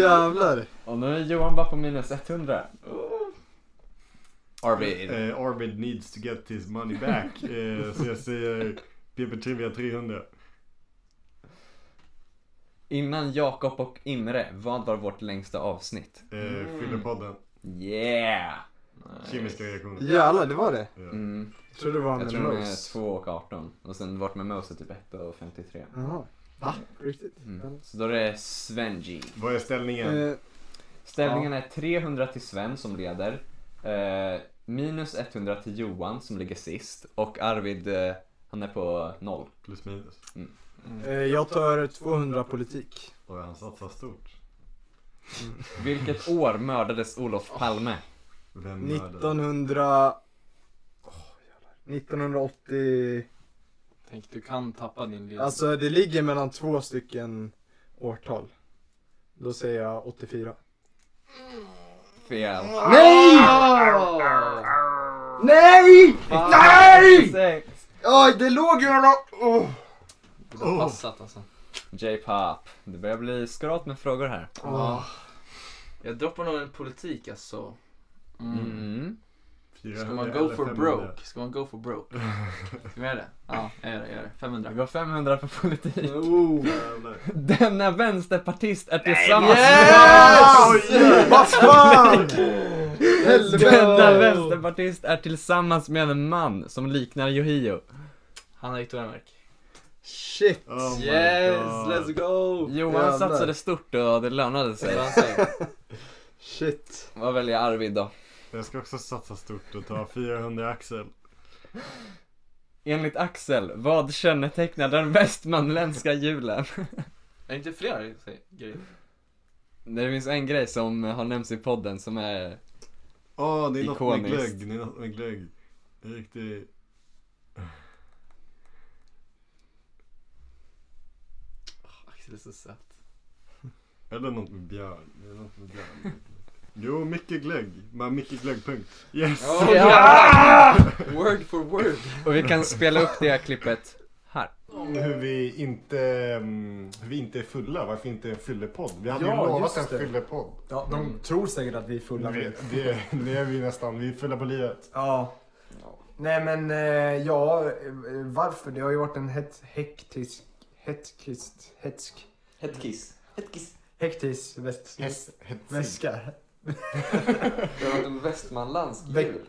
Speaker 1: Jävlar!
Speaker 5: Och nu är Johan bara på minus 100. Arvid.
Speaker 3: Eh, Arvid needs to get his money back. Eh, så jag säger PP Trivia 300.
Speaker 5: Innan Jakob och Imre, vad var vårt längsta avsnitt?
Speaker 3: Eh,
Speaker 4: Mm.
Speaker 3: Fyllepodden.
Speaker 5: Yeah!
Speaker 3: Kemiska reaktioner.
Speaker 1: Jävlar, det var det.
Speaker 3: Ja.
Speaker 5: Mm.
Speaker 1: Jag trodde det var
Speaker 5: Jag
Speaker 1: med
Speaker 5: tror de är
Speaker 1: Rose.
Speaker 5: 2 och 18. Och sen vart med Mose typ 1 och 53.
Speaker 1: Jaha. Va? Riktigt?
Speaker 5: Mm. Så då är det Svenji.
Speaker 3: Vad är ställningen?
Speaker 1: Eh,
Speaker 5: Ställningen är 300 till Sven som leder. Eh, minus 100 till Johan som ligger sist. Och Arvid, eh, han är på 0.
Speaker 3: Plus minus.
Speaker 4: Mm.
Speaker 1: eh, jag tar 200 politik.
Speaker 3: Och han satsar stort.
Speaker 5: [laughs] Vilket år mördades Olof Palme?
Speaker 3: Vem mördade?
Speaker 1: 1900... Åh, jävlar. 1980...
Speaker 4: Tänk du kan tappa din ledning.
Speaker 1: Alltså det ligger mellan två stycken årtal. Då säger jag 84.
Speaker 5: Fel.
Speaker 1: Nej! Nej!
Speaker 5: Nej!
Speaker 1: Oj, det låg ju några... Åh!
Speaker 4: Det har passat alltså.
Speaker 5: J-pop. Det börjar bli skralt med frågor här.
Speaker 4: Jag droppar nog en politik alltså. Mm.
Speaker 5: Mm.
Speaker 4: Ska
Speaker 3: 400
Speaker 4: man
Speaker 3: eller
Speaker 4: go for
Speaker 3: 500?
Speaker 4: broke? Ska man go for
Speaker 3: [laughs]
Speaker 4: broke? Ska vi göra det? Ja, jag gör det. Jag gör det.
Speaker 5: Det
Speaker 4: 500.
Speaker 5: går 500 på politik.
Speaker 3: Oh, jävlar.
Speaker 5: Denna vänsterpartist är tillsammans
Speaker 1: Vad [laughs] fan!
Speaker 5: med... Denna vänsterpartist är tillsammans med en man som liknar Yohio.
Speaker 4: Hanna Ektormark.
Speaker 1: Shit!
Speaker 3: Oh my
Speaker 4: Yes,
Speaker 3: God.
Speaker 4: let's go!
Speaker 5: Johan
Speaker 1: Jävlar.
Speaker 5: satsade stort och det lönade sig.
Speaker 1: Shit.
Speaker 5: Vad väljer Arvid då?
Speaker 3: Jag ska också satsa stort och ta 400 axel.
Speaker 5: Enligt Axel, vad kännetecknar den västmanländska julen?
Speaker 4: Är det inte fler säg, grejer?
Speaker 5: Det finns en grej som har nämnts i podden som är...
Speaker 3: Åh, det är något med
Speaker 5: Ikoniskt.
Speaker 3: glögg. Det är något med glögg. Det är Riktigt.
Speaker 4: Axel är så söt.
Speaker 3: Eller något med björn. Det är något med björn. Jo, mycket glögg. Men mycket glöggpunkt. Yes!
Speaker 4: Oh, [laughs] Word for word.
Speaker 5: Och vi kan spela upp det här klippet här.
Speaker 3: Om hur vi inte, mm, hur vi inte är fulla, varför inte en fyllepodd? Vi hade
Speaker 1: Ja,
Speaker 3: ju lovat
Speaker 1: just
Speaker 3: en
Speaker 1: det.
Speaker 3: fyllepodd.
Speaker 1: Ja, de tror säkert att vi är fulla.
Speaker 3: Vi- Det, det är vi nästan, vi är fulla på livet.
Speaker 1: Ja. Nej men eh, ja, eh, varför? Det har ju varit en het, hektisk, hetkist, hetsk,
Speaker 5: Hettkiss. Hettkiss.
Speaker 1: hektisk väs,
Speaker 3: Häst, hetsig.
Speaker 1: väska.
Speaker 5: Det har varit en västmanländsk
Speaker 1: Ve-
Speaker 5: jul.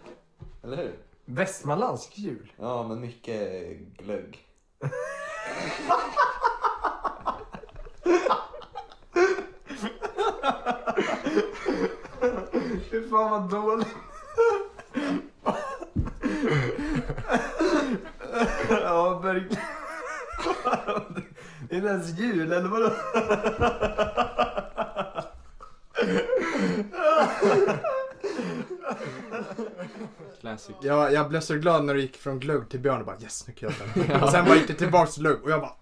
Speaker 5: Eller hur?
Speaker 1: Västmanländsk jul?
Speaker 5: Ja, men mycket glögg.
Speaker 1: Fy fan vad dåligt. ja, verkligen. Det är inte ens jul, eller vadå?
Speaker 4: Classic.
Speaker 1: Jag, jag blev så glad när du gick från glögg till björn och bara yes, nu kan jag den. Och sen bara gick det tillbaks till glögg och jag bara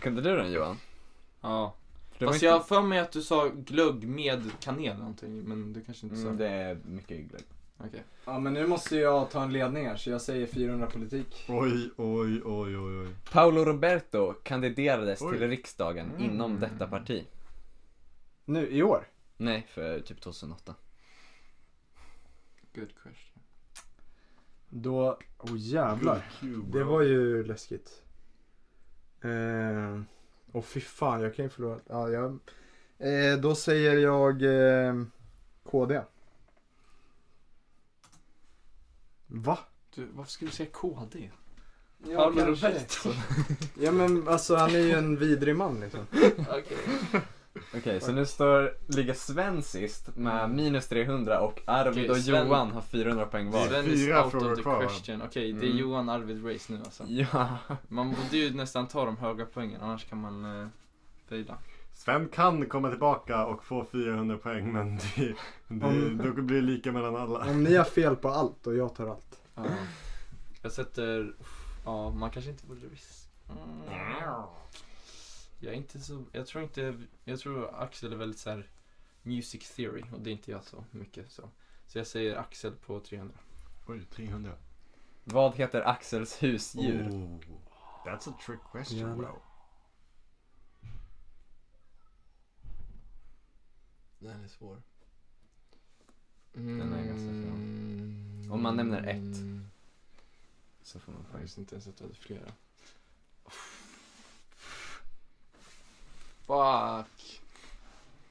Speaker 5: Kunde du den Johan?
Speaker 4: Ja.
Speaker 5: För det var
Speaker 4: Fast jag har för mig att du sa glögg med kanel eller någonting, men du kanske inte sa
Speaker 5: Mm, det är mycket glögg.
Speaker 4: Okej.
Speaker 1: Ja men nu måste jag ta en ledning här så jag säger 400 politik.
Speaker 3: Oj, oj, oj, oj, oj.
Speaker 5: Paolo Roberto kandiderades
Speaker 3: Oj.
Speaker 5: till riksdagen inom detta parti.
Speaker 1: Nu i år?
Speaker 5: Nej, för typ 2008.
Speaker 4: Good question.
Speaker 1: Då, oh jävlar.
Speaker 3: Kul,
Speaker 1: Det
Speaker 3: bra.
Speaker 1: var ju läskigt. Eh, och fy fan, jag kan ju förlora. Ja, jag, eh, då säger jag eh, KD. Va?
Speaker 4: Du, varför skulle du säga KD?
Speaker 1: Ja, ja men alltså han är ju en vidrig man liksom.
Speaker 4: Okej.
Speaker 5: Okej, så nu står, ligger Sven sist med minus 300 och Arvid
Speaker 6: Okej,
Speaker 5: och
Speaker 6: Sven-
Speaker 5: Johan har 400 poäng var.
Speaker 6: Sven is
Speaker 3: fyra
Speaker 6: out
Speaker 3: frågor
Speaker 6: of the
Speaker 3: kvar, va?
Speaker 6: question. Okej, det är
Speaker 5: Mm.
Speaker 6: Johan Arvid race nu alltså.
Speaker 5: Ja.
Speaker 6: Man borde ju nästan ta de höga poängen annars kan man eh, fejla.
Speaker 3: Sven kan komma tillbaka och få 400 poäng men det, det,
Speaker 1: Om-
Speaker 3: då blir det lika mellan alla.
Speaker 1: Om ni har fel på allt och jag tar allt.
Speaker 6: Ja. Jag sätter... Ja, man kanske inte borde risk. Mm. Jag är inte så... Jag tror inte... Jag tror Axel är väldigt så här music theory och det är inte jag så mycket så. Så jag säger Axel på 300.
Speaker 3: Oj, 300.
Speaker 5: Vad heter Axels husdjur?
Speaker 3: Oh, that's a trick question
Speaker 1: Jävlar.
Speaker 3: bro.
Speaker 4: Den är svår.
Speaker 5: Den är ganska svår.
Speaker 4: Mm.
Speaker 5: Om man nämner ett. Så får man
Speaker 6: Jag
Speaker 5: poäng.
Speaker 6: visste inte ens att du hade flera. Fuck.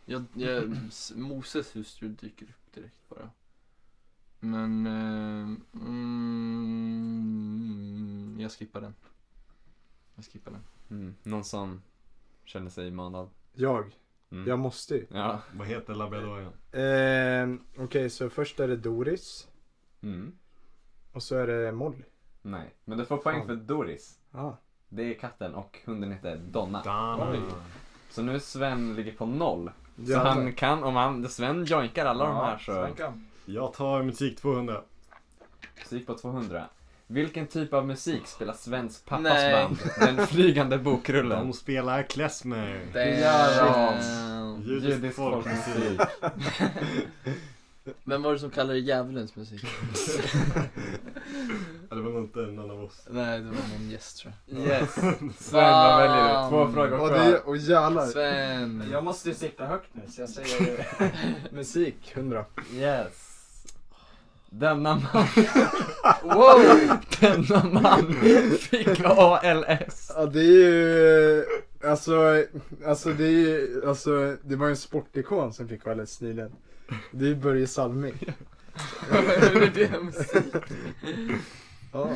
Speaker 6: Jag, jag, s- Moses hustru dyker upp direkt bara. Men... Eh, mm, jag skippar den. Jag skippar den.
Speaker 5: Mm. Någon som känner sig manad?
Speaker 1: Jag,
Speaker 5: Mm.
Speaker 1: jag måste ju.
Speaker 5: Ja.
Speaker 3: Vad heter labradoren?
Speaker 1: Ehm, Okej, så först är det Doris
Speaker 5: Mm.
Speaker 1: och så är det Molly.
Speaker 5: Nej, men du får poäng
Speaker 1: Fan.
Speaker 5: för Doris.
Speaker 1: Ah.
Speaker 5: Det är katten och hunden heter Donna.
Speaker 3: Dana.
Speaker 6: Oj.
Speaker 5: Så nu Sven ligger på noll. Så
Speaker 1: Jävlar.
Speaker 5: han kan, om han, Sven joinkar alla de här så...
Speaker 3: Jag tar musik 200.
Speaker 5: Så gick på 200. Vilken typ av musik spelar Svens pappas
Speaker 6: Nej.
Speaker 5: band? Den flygande bokrullen.
Speaker 3: De spelar [laughs] klezmer.
Speaker 4: Eh,
Speaker 6: Damn.
Speaker 3: Judisk folkmusik.
Speaker 4: Vem var det som kallade det djävulens musik?
Speaker 3: Ja, Det var nog inte någon av oss.
Speaker 6: Nej, det var någon gäst tror
Speaker 5: Yes. [laughs] Sven, vad väljer du? Två frågor
Speaker 1: Och,
Speaker 5: kvar.
Speaker 1: det, och jävlar.
Speaker 6: jag. Sven.
Speaker 9: Jag måste ju sikta högt nu så jag säger
Speaker 4: [laughs]
Speaker 1: Musik, 100.
Speaker 5: Yes. Denna man,
Speaker 6: Wow!
Speaker 5: denna man fick
Speaker 1: [laughs]
Speaker 5: ALS.
Speaker 1: Ja, det är ju... Alltså, alltså det är ju, alltså, det var ju en sportikon som fick ALS nyligen. Det är ju Börje Salming.
Speaker 6: Hur är det musik?
Speaker 1: Ja.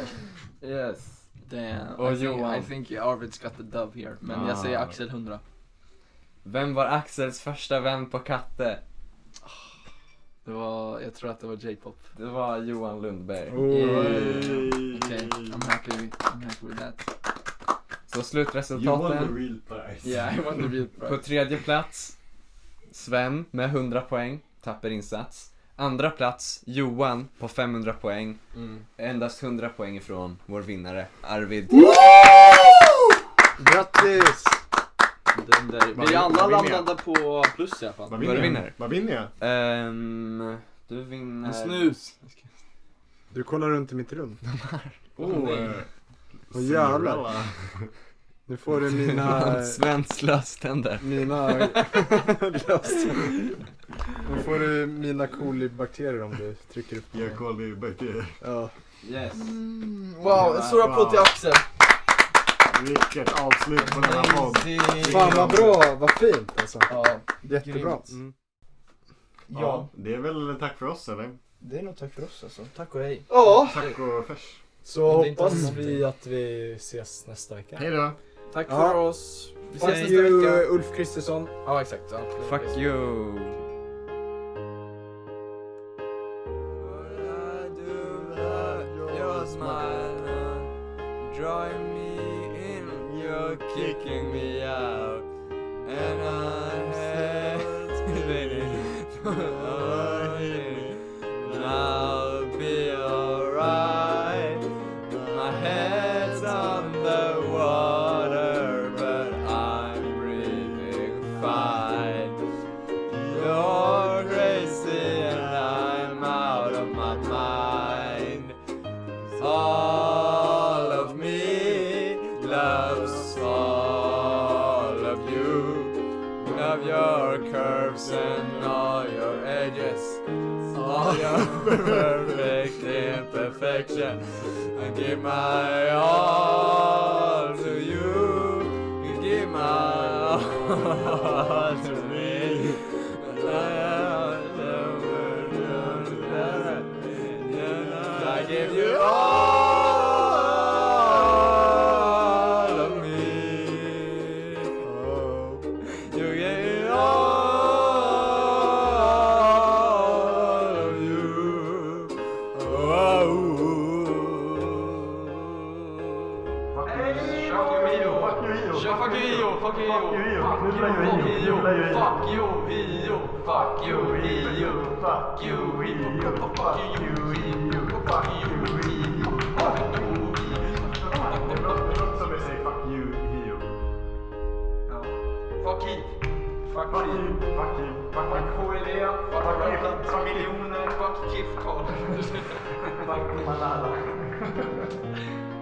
Speaker 5: Yes.
Speaker 6: Damn.
Speaker 5: Och
Speaker 6: I think,
Speaker 5: Johan.
Speaker 6: I think Arvid's got the dove here. Men jag säger
Speaker 5: Ah.
Speaker 6: Axel 100.
Speaker 5: Vem var Axels första vän på Katte?
Speaker 6: Det var, jag tror att det var J-pop.
Speaker 5: Det var Johan Lundberg.
Speaker 1: Oh. Oj.
Speaker 6: Okej, I'm happy with, I'm happy with that.
Speaker 5: Så
Speaker 3: You won the
Speaker 5: slutresultaten.
Speaker 3: real prize.
Speaker 6: Yeah, I want to be a pro.
Speaker 5: På tredje plats, Sven med 100 poäng, tapper insats. Andra plats, Johan på 500 poäng.
Speaker 6: Mm.
Speaker 5: Endast 100 poäng ifrån vår vinnare, Arvid.
Speaker 1: Grattis!
Speaker 6: Den där.
Speaker 3: Vad
Speaker 6: Vi
Speaker 3: vinner-
Speaker 6: alla
Speaker 3: vad vinner jag?
Speaker 6: landade på plus i alla fall.
Speaker 3: Vad vinner,
Speaker 5: Vad
Speaker 3: jag?
Speaker 5: vinner?
Speaker 3: Vad vinner jag?
Speaker 5: Ehm, du vinner...
Speaker 6: En snus.
Speaker 1: Du kollar runt i mitt rum.
Speaker 3: Oh, eh,
Speaker 1: Åh, jävlar.
Speaker 3: Cinderella.
Speaker 1: Nu får du
Speaker 4: [laughs]
Speaker 5: [laughs]
Speaker 1: mina...
Speaker 5: Johan Svens löständer.
Speaker 1: Mina... nu får du mina kolibakterier om du trycker upp
Speaker 3: Jag
Speaker 1: mig.
Speaker 3: kollar ju böcker.
Speaker 1: Ja.
Speaker 5: Yes.
Speaker 4: Mm, Wow, en stor applåd till Axel!
Speaker 3: Vilket avslut på denna podd.
Speaker 1: Fan vad bra, vad fint alltså.
Speaker 4: Ja,
Speaker 1: Jättebra.
Speaker 4: grymt.
Speaker 1: Mm.
Speaker 3: Ja, det är väl tack för oss eller?
Speaker 4: det är nog tack för oss alltså. Tack och hej.
Speaker 9: Ja,
Speaker 3: Tack och färs.
Speaker 9: så
Speaker 4: Det är inte
Speaker 9: hoppas
Speaker 4: sant.
Speaker 9: vi att vi ses nästa vecka.
Speaker 3: Hej då.
Speaker 4: Tack
Speaker 1: Ja.
Speaker 4: för oss. Vi ses
Speaker 1: Fuck
Speaker 4: nästa
Speaker 1: you
Speaker 4: vecka.
Speaker 1: eh, Ulf Kristersson.
Speaker 4: Ja, exakt. Ja, det var det.
Speaker 5: Fuck you. Drawing me in, you're kicking me out, and I'm hesitating. And [laughs] I'll be alright. My head's on the water, but I'm breathing fine. You're crazy, and I'm out of my mind. All of me loves all of you. Love your curves and all your edges. All your [laughs] perfect imperfection. I give my all to you. You give my all to me. And I am the and I give you all of me. Oh. You give it all.
Speaker 3: you, fuck you, EU, fuck you, EU, fuck you, EU, fuck you, EU, fuck you, EU, fuck you, Ja. Fuck hit, fuck hit, fuck KD, fuck Rödland, fuck miljoner, fuck Kif Fuck Malala.